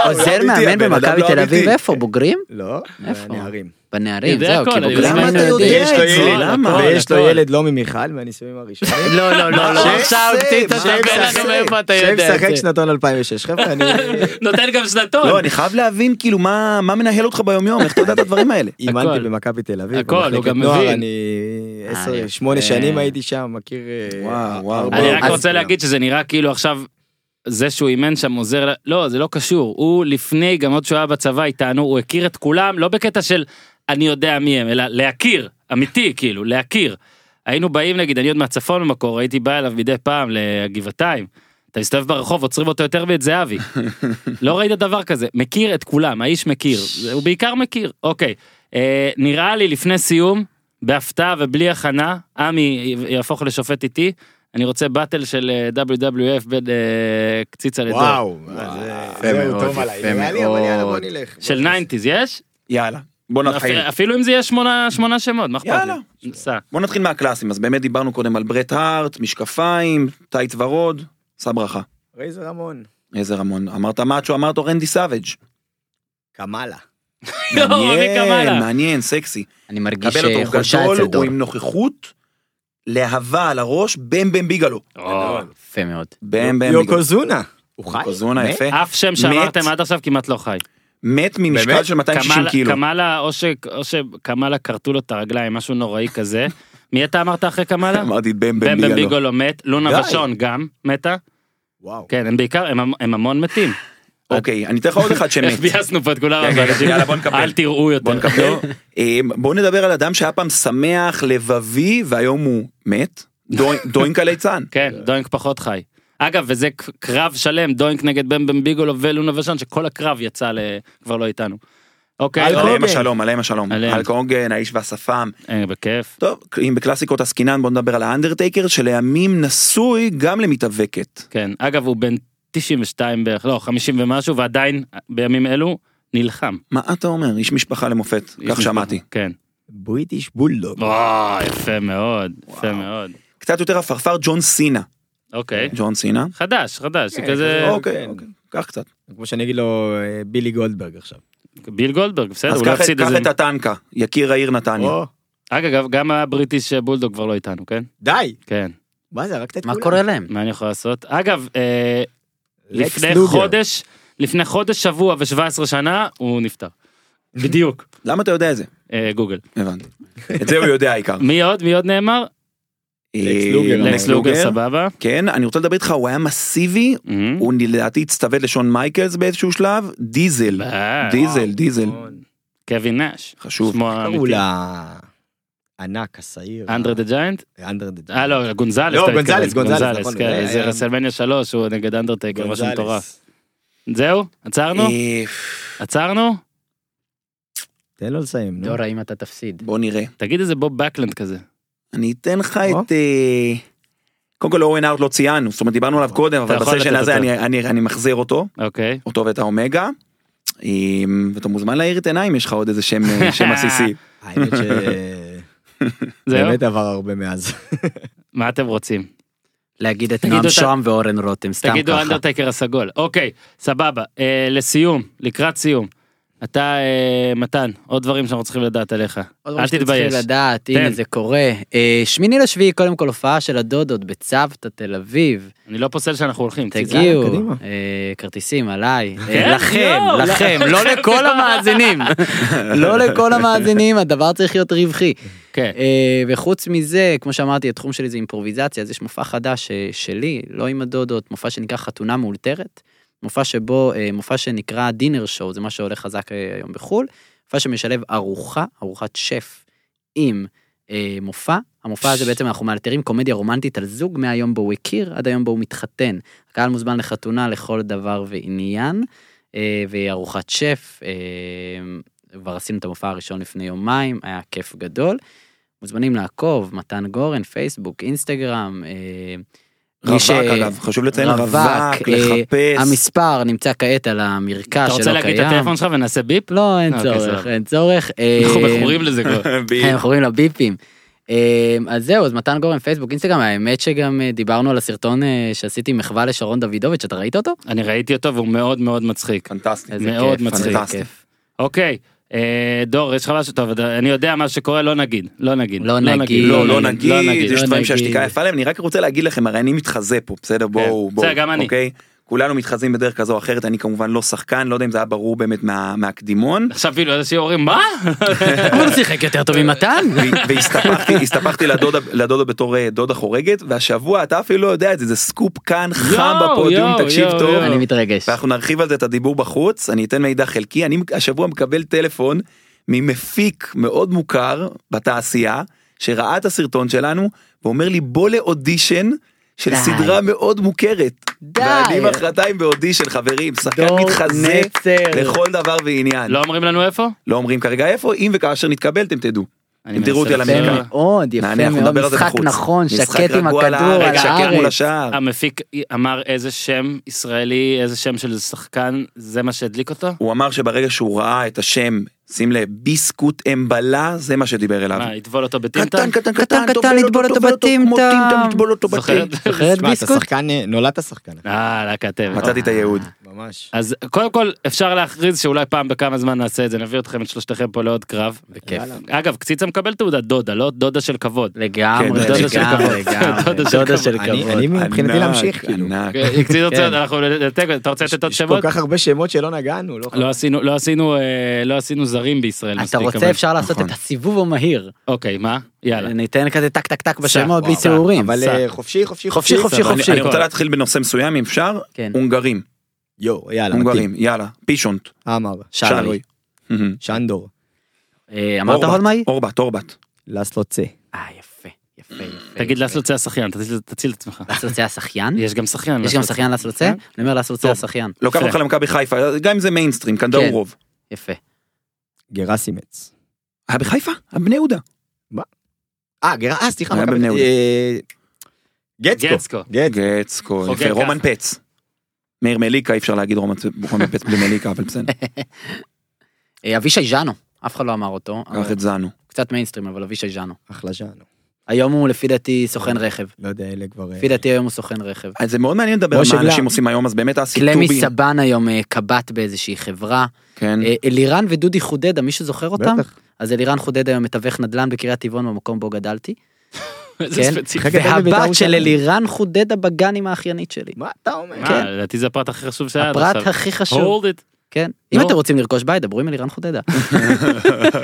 עוזר מאמן הבן אדם במכבי לא תל אביב, אמיתי. איפה? בוגרים? לא, איפה? נערים. בנערים, יודע זהו, הכל, כי אני בוגרים יודע. היינו למה אתה יודעים. יודע? ויש לו את זה, ילד, למה? ויש לו הכל. ילד לא ממיכל מהנישואים הראשונים. לא, לא, לא, לא. שב, עכשיו שב, תספר שב, לנו שב. מאיפה אתה יודע את שמשחק זה. שנתון 2006 חבר'ה אני נותן גם לא, שנתון. אני חייב להבין, כאילו, מה מה מנהל אותך ביומיום, איך אתה יודע את הדברים האלה? אימנתי הכל. במכבי תל אביב. הכל, הוא במחלקת גם נוער, מבין. אני אה, יפה. עשר, שמונה שנים הייתי שם מכיר. אה, וואו, וואו, הרבה- אני רק אז- רוצה להגיד שזה נראה כאילו עכשיו... זה שהוא אימן שם עוזר, ל- לא זה לא קשור, הוא לפני גם עוד שהוא היה בצבא איתנו, הוא הכיר את כולם, לא בקטע של אני יודע מי הם, אלא להכיר, אמיתי כאילו, להכיר. היינו באים נגיד, אני עוד מהצפון במקור, הייתי בא אליו מדי פעם לגבעתיים, אתה מסתובב ברחוב, עוצרים אותו יותר ואת זהבי. לא ראית דבר כזה, מכיר את כולם, האיש מכיר, זה- הוא בעיקר מכיר, אוקיי. אה, נראה לי לפני סיום, בהפתעה ובלי הכנה, עמי י- יהפוך לשופט איתי, אני רוצה באטל של אה, WWF בין אה, קציצה לדור. וואו, אז, יפה זהו, מאוד, טוב יפה עליי, נראה לי, אבל מאוד. יאללה, בוא נלך. של בוא נלך. ניינטיז, יש? יאללה, בוא נתחיל. אפ- אפילו אם זה יהיה שמונה שמונה שמות, מה אכפת לי? יאללה. סע. בוא נתחיל מהקלאסים, אז באמת דיברנו קודם על ברט הארט, משקפיים, טייץ ורוד, שא ברכה. רייזר המון. איזה רמון, אמרת מאצ'ו, אמרת רנדי סאביג'. קמאלה. לא, עמי מעניין, קמאלה. מעניין, סקסי. אני מרגיש קבל אותו, חולשה הוא אצל גדול, דור. הוא עם נוכחות, להבה על הראש, בם בם ביגלו. או, יפה מאוד. בם בם ביגלו. יוקוזונה. הוא חי. יוקוזונה, מת? יפה. אף שם שאמרתם עד עכשיו כמעט לא חי. מת ממשקל באמת? של 260 קמאלה- קילו. קמאלה, או ש- או שקמאלה כרתו לו את הרגליים, משהו נוראי כזה, מי אתה אמרת אחרי קמאלה? אמרתי בן בן בן בן ביגלו. ביגולו מת, די. לונה ושון גם מתה. וואו. כן, הם בעיקר, הם- הם המון מתים. אוקיי, אני אתן לך עוד אחד שמת. איך ביאסנו פה את כולם, כן, אבל כן, אנשים, יאללה, בוא נקפל. אל תראו יותר. לא? בוא נקפל. אה, בוא נדבר על אדם שהיה פעם שמח, לבבי, והיום הוא מת. דו- דוינקה ליצן. כן, דוינק פחות חי. אגב, וזה ק- קרב שלם, דוינק נגד בן בן ביגולו ולונה ושן, שכל הקרב יצא ל... כבר לא איתנו. אוקיי, אלכוהול. עליהם הוגן. השלום, עליהם השלום. עליהם. אלק הוגן, האיש והשפם. אה, בכיף. טוב, אם בקלאסיקות עסקינן בוא נדבר על האנדרטייקר שלימים נשוי גם למתאבקת. כן, אגב, הוא בן 92 בערך, לא, 50 ומשהו, ועדיין, בימים אלו, נלחם. מה אתה אומר? איש משפחה למופת, כך שמעתי. כן. בריטיש בולדוג. לא, וואו, יפה מאוד, יפה מאוד. קצת יותר עפרפר ג'ון סינה. אוקיי. ג'ון סינה? חדש, חדש, זה כן, כזה... כזה- אוקיי, כן. אוקיי, קח קצת. כמו שאני אגיד לו אה, בילי גולדברג עכשיו. ביל גולדברג, בסדר, אז הוא לא קח את- הפסיד קח איזה... את הטנקה, יקיר העיר נתניה. או, אגב, גם הבריטיש בולדוג כבר לא איתנו, כן? די! כן, מה זה, הרגת את מה כולם. קורה להם? מה אני יכול לעשות? אגב, אה, לקס לפני לוגר. חודש, לפני חודש, שבוע ו-17 שנה, הוא נפטר. בדיוק. למה אתה יודע את זה? אה, גוגל. הבנתי. את זה הוא יודע העיקר. מי עוד? מי עוד נאמר? אה, לוגר. לא. לקס לוגר, סבבה. כן, אני רוצה לדבר איתך, הוא היה מסיבי, אמ, הוא לדעתי הצטווד לשון מייקלס באיזשהו שלב, דיזל. אה, דיזל, דיזל. קווין נאש. חשוב. שמו קראו האמיתי. לה... ענק, השעיר. אנדרה דה ג'יינט? אנדר דה. אה לא, גונזלס. לא, אתה גונזלס, מתכוון. גונזלס, נכון, זה כן, היה- זה רסלמניה 3, הוא נגד אנדרטייקר, משהו מטורף. זהו? עצרנו? אה, עצרנו? תן לו לסיים, נו. דורה, אם אתה תפסיד. בוא נראה. תגיד איזה בוב בקלנד כזה. אני אתן לך או. את... אה, קודם כל אורן אאוט לא ציינו, זאת אומרת דיברנו עליו קודם, אבל נכון. אתה יכול בסשן לתת הזה אותו. אני- אני אני מחזיר אותו, אוקיי. אותו ואת האומגה. אה, ואתה מוזמן להאיר את עיניים, יש לך עוד איזה שם אה, שם עסיסי. האמת ש... זהו? באמת עבר הרבה מאז. מה אתם רוצים? להגיד את תגידו נועם את ה- שוהם ואורן רותם, סתם תגידו ככה. אנדרטייקר הסגול. אוקיי, סבבה. אה, לסיום, לקראת סיום. אתה, אה, מתן, עוד דברים שאנחנו צריכים לדעת עליך. עוד אל משהו שאתם תתבייש. צריכים לדעת, תן. הנה זה קורה. אה, שמיני לשביעי, קודם כל הופעה של הדודות בצוותא תל אביב. אני לא פוסל שאנחנו הולכים. תגיעו, קדימה. אה, כרטיסים עליי, אה, כן? לכם, יואו, לכם, לכם. לא לכל המאזינים, לא לכל המאזינים, הדבר צריך להיות רווחי. כן. אה, וחוץ מזה, כמו שאמרתי, התחום שלי זה אימפרוביזציה, אז יש מופע חדש אה, שלי, לא עם הדודות, מופע שנקרא חתונה מאולתרת, מופע שבו, אה, מופע שנקרא דינר שואו, זה מה שהולך חזק אה, היום בחו"ל, מופע שמשלב ארוחה, ארוחת שף, עם אה, מופע. המופע הזה בעצם אנחנו מאלתרים קומדיה רומנטית על זוג מהיום בו הוא הכיר עד היום בו הוא מתחתן. הקהל מוזמן לחתונה לכל דבר ועניין, אה, והיא ארוחת שף, אה, כבר עשינו את המופע הראשון לפני יומיים, היה כיף גדול. מוזמנים לעקוב, מתן גורן, פייסבוק, אינסטגרם. אה, מי רווק אגב, חשוב לציין רווק, אה, לחפש. המספר נמצא כעת על המרקע שלא קיים. אתה רוצה להגיד את הטלפון שלך ונעשה ביפ? לא, אין אוקיי, צורך, סבבה. אין צורך. אה, אנחנו מכורים לזה כבר. ב- הם קוראים לה ביפים. אה, אז זהו, אז מתן גורן, פייסבוק, אינסטגרם, האמת שגם אה, דיברנו על הסרטון אה, שעשיתי מחווה לשרון דוידוביץ', אתה ראית אותו? אני ראיתי אותו והוא מאוד מאוד מצחיק. פנטסטי. איזה מאוד כיף, מצחיק. איזה כיף. אוקיי, אה, דור, יש לך משהו טוב, אתה- אני יודע מה שקורה, לא נגיד. לא נגיד. לא נגיד. לא, לא לא נגיד, יש לא נגיד. דברים כן, שהשתיקה יפה להם, אני רק רוצה להגיד לכם, הרי אני מתחזה פה, בסדר? בואו, בואו, בסדר, גם אני. אוקיי? כולנו מתחזים בדרך כזו או אחרת, אני כמובן לא שחקן, לא יודע אם זה היה ברור באמת מה- מהקדימון. עכשיו כאילו אנשים אומרים, מה? אבל הוא שיחק יותר טוב עם מתן. ו- והסתפחתי הסתפחתי לדודה לדודה בתור אה, דודה חורגת והשבוע אתה אפילו לא יודע את זה זה סקופ כאן חם יואו, בפודיום יואו, תקשיב יואו, טוב יואו. אני מתרגש. ואנחנו נרחיב על זה את הדיבור בחוץ אני אתן מידע חלקי אני השבוע מקבל טלפון ממפיק מאוד מוכר בתעשייה שראה את הסרטון שלנו ואומר לי בוא לאודישן. של די. סדרה מאוד מוכרת, די. ואני מחרתיים באודישן חברים, שחקן דור מתחזה נצר. לכל דבר ועניין, לא אומרים לנו איפה? לא אומרים כרגע איפה, אם וכאשר נתקבל אתם תדעו. אני אם תראו אותי על מנסה אמריקה. לחשוב. יפה מאוד, יפה נענה, אנחנו מאוד, נדבר על זה משחק בחוץ. נכון, משחק שקט עם רגוע הכדור על שקר מול הארץ. השער. המפיק אמר איזה שם ישראלי, איזה שם של שחקן, זה מה שהדליק אותו? הוא אמר שברגע שהוא ראה את השם, שים לב, ביסקוט אמבלה, זה מה שדיבר אליו. מה, יטבול אותו בטינטן? קטן, לא קטן, קטן, קטן, קטן, טובל לטבול אותו טובל כמו בטימטם. טינטן, לטבול אותו זוכרת? בטינטן. זוכרת תשמע, אתה ביסקוט? שחקן, אה, נולדת שחקן. אה, להקת טבע. מצאתי את הייעוד. ממש. אז קודם כל אפשר להכריז שאולי פעם בכמה זמן נעשה את זה נביא אתכם את שלושתכם פה לעוד קרב. בכיף. יאללה. אגב קציצה מקבל תעודת דודה לא דודה של כבוד. לגמרי, כן, דודה של לגמרי, כבוד. לגמרי. דודה של דודה של כבוד. אני- כבוד. אני מבחינתי ענק, להמשיך. כאילו. ענק. קציצה כן. רוצה- אה, אנחנו נתק אתה רוצה לתת עוד יש כל שמות? כך הרבה שמות שלא נגענו, לא לא עשינו לא עשינו אה, לא עשינו זרים בישראל. אתה מספיק, אבל- רוצה אפשר אה, לעשות נכון. את הסיבוב המהיר. אוקיי מה יאללה. ניתן כזה טק טק טק סע, בשמות בלי סע. ציורים. לא, אבל סע. אה, חופשי, חופשי, חופשי, חופשי, אני- חופשי. אני רוצה להתחיל בנושא מסוים אם אפשר. כן. הונגרים. יואו, יאללה, מתאים. הונגרים. יאללה. פישונט. עמר, שרוי. מהמם. שנדור, אה, אמרת אורבט, הולמאי? אורבט. אורבט. לסלו צה. אה, יפה, יפה, יפה. תגיד יפה. לאסלו צא השחיין תציל- תציל את עצמך. לאסלו צה השחיין? יש גם שחיין. אה? יש גם לא, שחיין לאסלו צה? אני אומר לאסלו צה טוב. השחיין. לוקח יפה. אותך למכבי חיפה. גם אם זה מיינסטרים. קנדאורוב. יפה. גרסימץ. היה אה, בחיפה? היה בני יהודה. אה, גר... אה, סליחה, היה מכבי- בבני יהודה. אה, גצקו. גצקו. גצקו. גצקו. חוגג יפה. ככה. רומן פץ. מאיר מליקה אי אפשר להגיד רומן רומן פץ בלי מליקה אבל בסדר. אה, אבישי ז'אנו, אף אחד לא אמר אותו. אבל- קח את זנו. קצת מיינסטרים, אבל אבישי ז'אנו. אחלה ז'אנו. היום הוא לפי דעתי סוכן רכב. לא יודע, אלה כבר... אה, לפי דעתי היום הוא סוכן רכב. אז אה, זה מאוד מעניין לדבר על משה מה אנשים גלם. עושים היום אז באמת אסי קלמי טובי. סבן היום אה, קב"ט באיזושהי חברה. כן. אה, אלירן ודודי חודדה, מישהו זוכר אותם? בטח. אז אלירן חודד היום מתווך נדל"ן בקריית טבעון במקום בו גדלתי. איזה כן. ספציפי. משחק גדל בבית"ר והבת של ירושלים. אלירן חודדה בגן עם האחיינית שלי. מה אתה אומר? כן. מה, לדעתי זה הפרט הכי חשוב אה, שהיה עד עכשיו. כן. הפרט הכי חשוב. Hold it. כן. אם נו. אתם רוצים לרכוש בית דברו עם אלירן חודדה.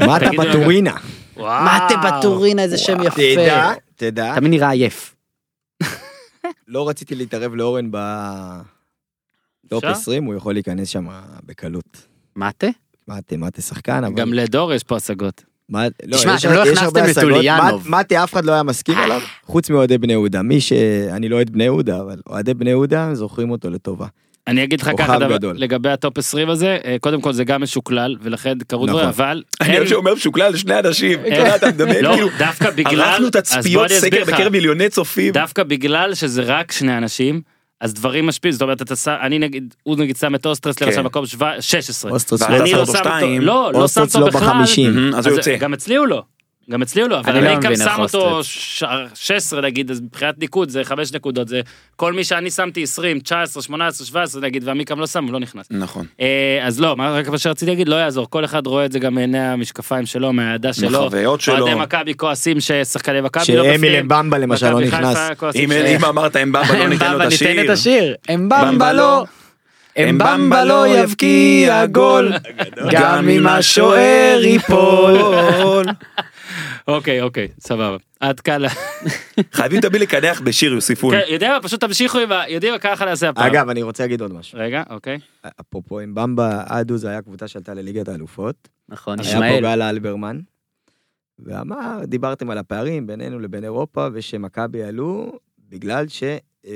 מה אתה תגיד, בטורינה? מה אתה בטורינה איזה שם יפה. תדע, תדע. תמיד נראה עייף. לא רציתי להתערב לאורן בטופ אפשר? 20, הוא יכול להיכנס שם בקלות. מה אתה? מטה, מטה שחקן, אבל... גם לדור יש פה השגות. מה- לא, תשמע, יש- אתם לא יש הכנסתם הרבה את אה. השגות. טוליאנוב. מט- מטה, אף אחד לא היה מסכים עליו, חוץ מאוהדי בני יהודה. מי ש... אני לא אוהד בני יהודה, אבל אוהדי בני יהודה זוכרים אותו לטובה. אני אגיד לך כוכב ככה דבר- גדול. לגבי הטופ 20 הזה, אה, קודם כל זה גם משוקלל ולכן קראו נכון. דברים, אבל אני אין- אוהב שאומר משוקלל לשני אנשים. אין- אתה יודע, אתה מדבר לא, כאילו. דווקא בגלל, ערכנו תצפיות אז בוא אני אסביר סקר לך. בקרב מיליוני צופים. דווקא בגלל שזה רק שני אנשים, אז דברים משפיעים, זאת אומרת, אתה שם, אני נגיד, הוא נגיד שם את אוסטרס כן. למשל במקום שבע- 16. אוסטרץ ואתה לא- אני לא אותו שם אותו, שתיים, לא, לא שם אוסטרץ אותו לא בכלל. בחמישים. מהמם, אז הוא יוצא. גם אצלי הוא לא. גם אצלי הוא לא, אבל אני אני לא גם מבין איך שם אותו אוסטרץ. ש- 16 נגיד, אז מבחינת ניקוד זה 5 נקודות, זה כל מי שאני שמתי 20, 19, 18, 17 נגיד, ועמיקם לא שם, הוא לא נכנס. נכון. אה, אז לא, מה רק מה שרציתי להגיד, לא יעזור, כל אחד רואה את זה גם מעיני המשקפיים שלו, מהעדה שלו. בחוויות שלו. אוהדי מכבי כועסים ששחקני מכבי לא שאמיל בפנים. אמבמבה למשל לא מכבי נכנס. חיפה כועסים אם ש- אם אמרת אמבמבה לא ניתן לו אמבמבה את ניתן את השיר. השיר. אמבמבה לא. אמבמבה אמבמבה לא יבקיע גול. גם אם השוער ייפול. אוקיי, אוקיי, סבבה. עד כאן. חייבים תמיד לקנח בשיר יוסיפון. כן, יודע מה, פשוט תמשיכו עם ה... יודעים מה, ככה נעשה הפעם. לא- אגב, אני רוצה להגיד עוד משהו. רגע, אוקיי. אפרופו עם במבה, אדו זה היה קבוצה שעלתה לליגת האלופות. נכון, היה פה ישמעאל. גל אלברמן. ואמר, דיברתם על הפערים בינינו לבין אירופה, ושמכבי עלו בגלל ש... אה,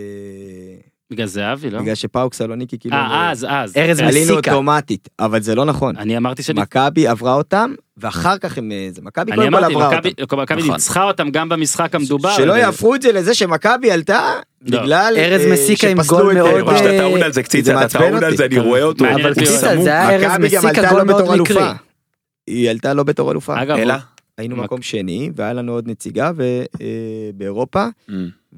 בגלל זה אבי, לא? בגלל שפאוק סלוניקי כאילו... אה, אז, אז. ארז כן. עלינו מסיקה. אוטומטית, אבל זה לא נכון. אני אמרתי שאני... מכבי עברה אותם, ואחר כך הם... אה, זה מכבי אני קודם כל אמרתי, עברה אותם. מכבי- מכבי נכון. ניצחה אותם גם במשחק המדובר. אה, שלא אבל- יהפכו את זה לזה שמכבי עלתה לא. בגלל... ארז אה, מסיקה עם שפסלו גול את, מאוד, אה, אבל אה, שאתה טעון על זה זה קציצה, אתה מעצבן טעון על אותי. זה, אני רואה אותו. מעניין אבל אותי הוא מאוד. קציצה, סמוק. זה היה ארז מכבי גם מסיקה, עלתה גול לא בתור מאוד מקרי. אלופה. היא עלתה לא בתור אלופה. אגב, אלא? היינו מק- מקום שני, והיה לנו עוד נציגה ו- אה, באירופה,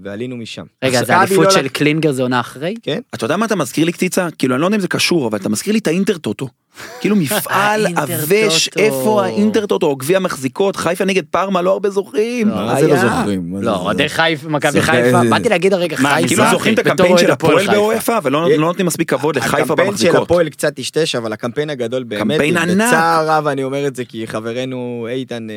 ועלינו משם. רגע, אז מכבי האליפות לא של לק- קלינגר זה עונה אחרי? אתה יודע מה אתה מזכיר לי קציצה? כאילו אני לא יודע אם זה קשור אבל אתה מזכיר לי את האינטרטוטו. כאילו מפעל האינטרטוטו. עבש איפה האינטרטוטו או גביע מחזיקות חיפה נגד פארמה לא הרבה זוכרים. מה זה לא היה. זוכרים? מה זה- לא, אוהדי חיפה, מכבי זה- חיפה, זה- באתי להגיד הרגע מה, חיפה. כאילו מזרחי, זוכרים את בתור הקמפיין אוהד של הפועל הפועל חיפה. באופה ולא אה, לא נותנים מספיק כבוד לחיפה הקמפיין של במחזיקות. הפועל קצת טשטש, אבל הקמפיין הגדול באמת, קמפיין ענק. בצער רב אני אומר את זה, כי חברנו איתן, אה,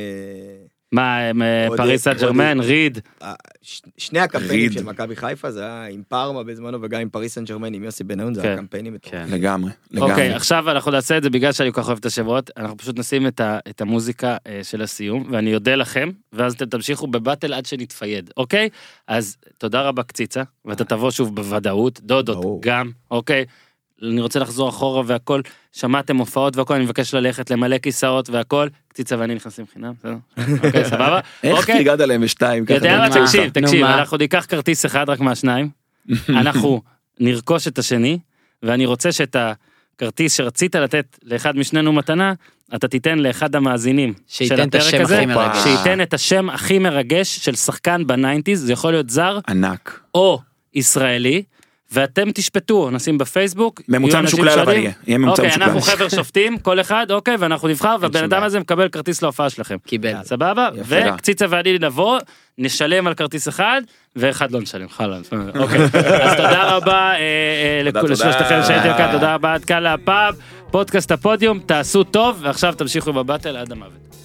מה, הם, אה, עוד- פריס סן עוד- ג'רמן, ריד. ה- ש- שני הקמפיינים ריד. של מכבי חיפה, זה היה עם פארמה בזמנו וגם עם פריס סן ג'רמן, עם יוסי בניון, זה כן. היה קמפיינים. מטורפים. לגמרי. לגמרי. אוקיי, עכשיו אנחנו נעשה את זה בגלל שאני כל כך אוהב את השמות. אנחנו פשוט נשים את ה- את המוזיקה אה, של הסיום, ואני אודה לכם, ואז אתם תמשיכו בבטל עד שנתפייד, אוקיי? אז תודה רבה קציצה, ואתה תבוא שוב בוודאות, דודות ברור. גם, אוקיי? אני רוצה לחזור אחורה והכל, שמעתם הופעות והכל, אני מבקש ללכת למלא כיסאות והכל, קציצה ואני נכנסים חינם, בסדר? אוקיי, סבבה? איך אוקיי. תיגד עליהם בשתיים? ככה? יודע מה, נו, מה? תקשיב, נו, תקשיב, מה? אנחנו ניקח כרטיס אחד רק מהשניים, אנחנו נרכוש את השני, ואני רוצה שאת הכרטיס שרצית לתת לאחד משנינו מתנה, אתה תיתן לאחד המאזינים שייתן של את הפרק השם הזה, הכי מרגש. שייתן את השם הכי מרגש של שחקן בניינטיז, זה יכול להיות זר ענק. או ישראלי, ואתם תשפטו, נשים בפייסבוק. ממוצע יהיו אנשים משוקלל אבל שואלים, יהיה, יהיה ממוצע אוקיי, אנחנו משוקלל. חבר שופטים, כל אחד, אוקיי, ואנחנו נבחר, והבן שום אדם בעיה. הזה מקבל כרטיס להופעה שלכם. קיבל. סבבה? יפה. וקציצה ואני נבוא, נשלם על כרטיס אחד, ואחד לא נשלם, חלאס. אוקיי, אז תודה רבה אה, אה, תודה, לכו- תודה. לשלושתכם שהייתם כאן, תודה רבה עד כאן להפעם. פודקאסט הפודיום, תעשו טוב, ועכשיו תמשיכו בבטל עד המוות.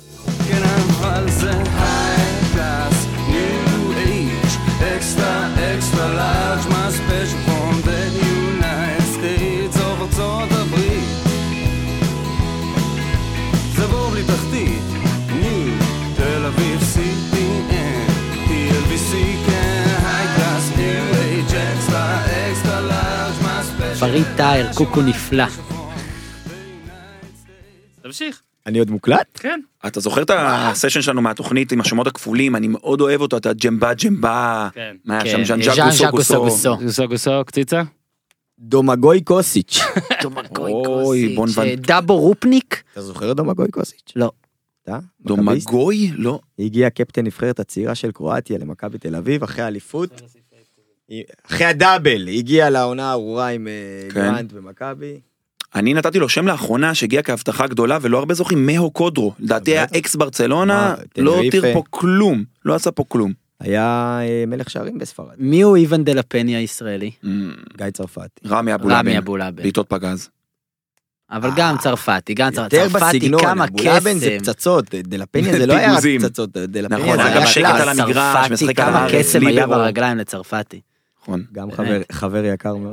כן אבל זה high class, new age, extra, extra large, my special from the United States of ארצות הברית. זה בור בלי תחתית, ניו, תל אביב, CPN, TLVC, כן, high class, new age, extra, extra large, my special. פריד טייר, קוקו נפלא. תמשיך, אני עוד מוקלט? כן. אתה זוכר את הסשן שלנו מהתוכנית עם השמות הכפולים, אני מאוד אוהב אותו, אתה ג'מבה ג'מבה, כן. מה היה כן, שם ז'אן ז'אן ז'אק ז'אקו גוסו גוסו. סוגוסו. גוסו גוסו, קציצה. דומגוי קוסיץ'. אוי, בון ון- אה, דאבו רופניק? אתה זוכר את דומגוי קוסיץ'? לא. אתה? מכביסט? דומגוי? לא. הגיע קפטן נבחרת הצעירה של קרואטיה למכבי תל אביב אחרי האליפות. אחרי הדאבל, הגיע לעונה הארורה עם אה, כן. גרנט ומכבי. אני נתתי לו שם לאחרונה שהגיע כהבטחה גדולה ולא הרבה זוכרים, מאו קודרו. לדעתי היה בטח. אקס ברצלונה, מה, לא הותיר טנריפה. פה כלום, לא עשה פה כלום. היה אה, מלך שערים בספרד. מי הוא איוון דה לפני הישראלי? גיא צרפתי. רמי רמי אבולאבן, אבולאבן. בעיטות פגז. אבל גם צרפתי, גם צרפתי. אה, יותר צרפתי, בסגנון, כמה אבולאבן זה קסם. פצצות, דלפניה זה לא היה רק פיגוזים. פצצות, דלפניה נכון, זה היה גם היה שקט קלאס. על המגרש, משחק צרפתי, על כמה הארץ, קסם היה ליברו. ברגליים לצרפתי. נכון. גם חבר- חבר יקר מאוד.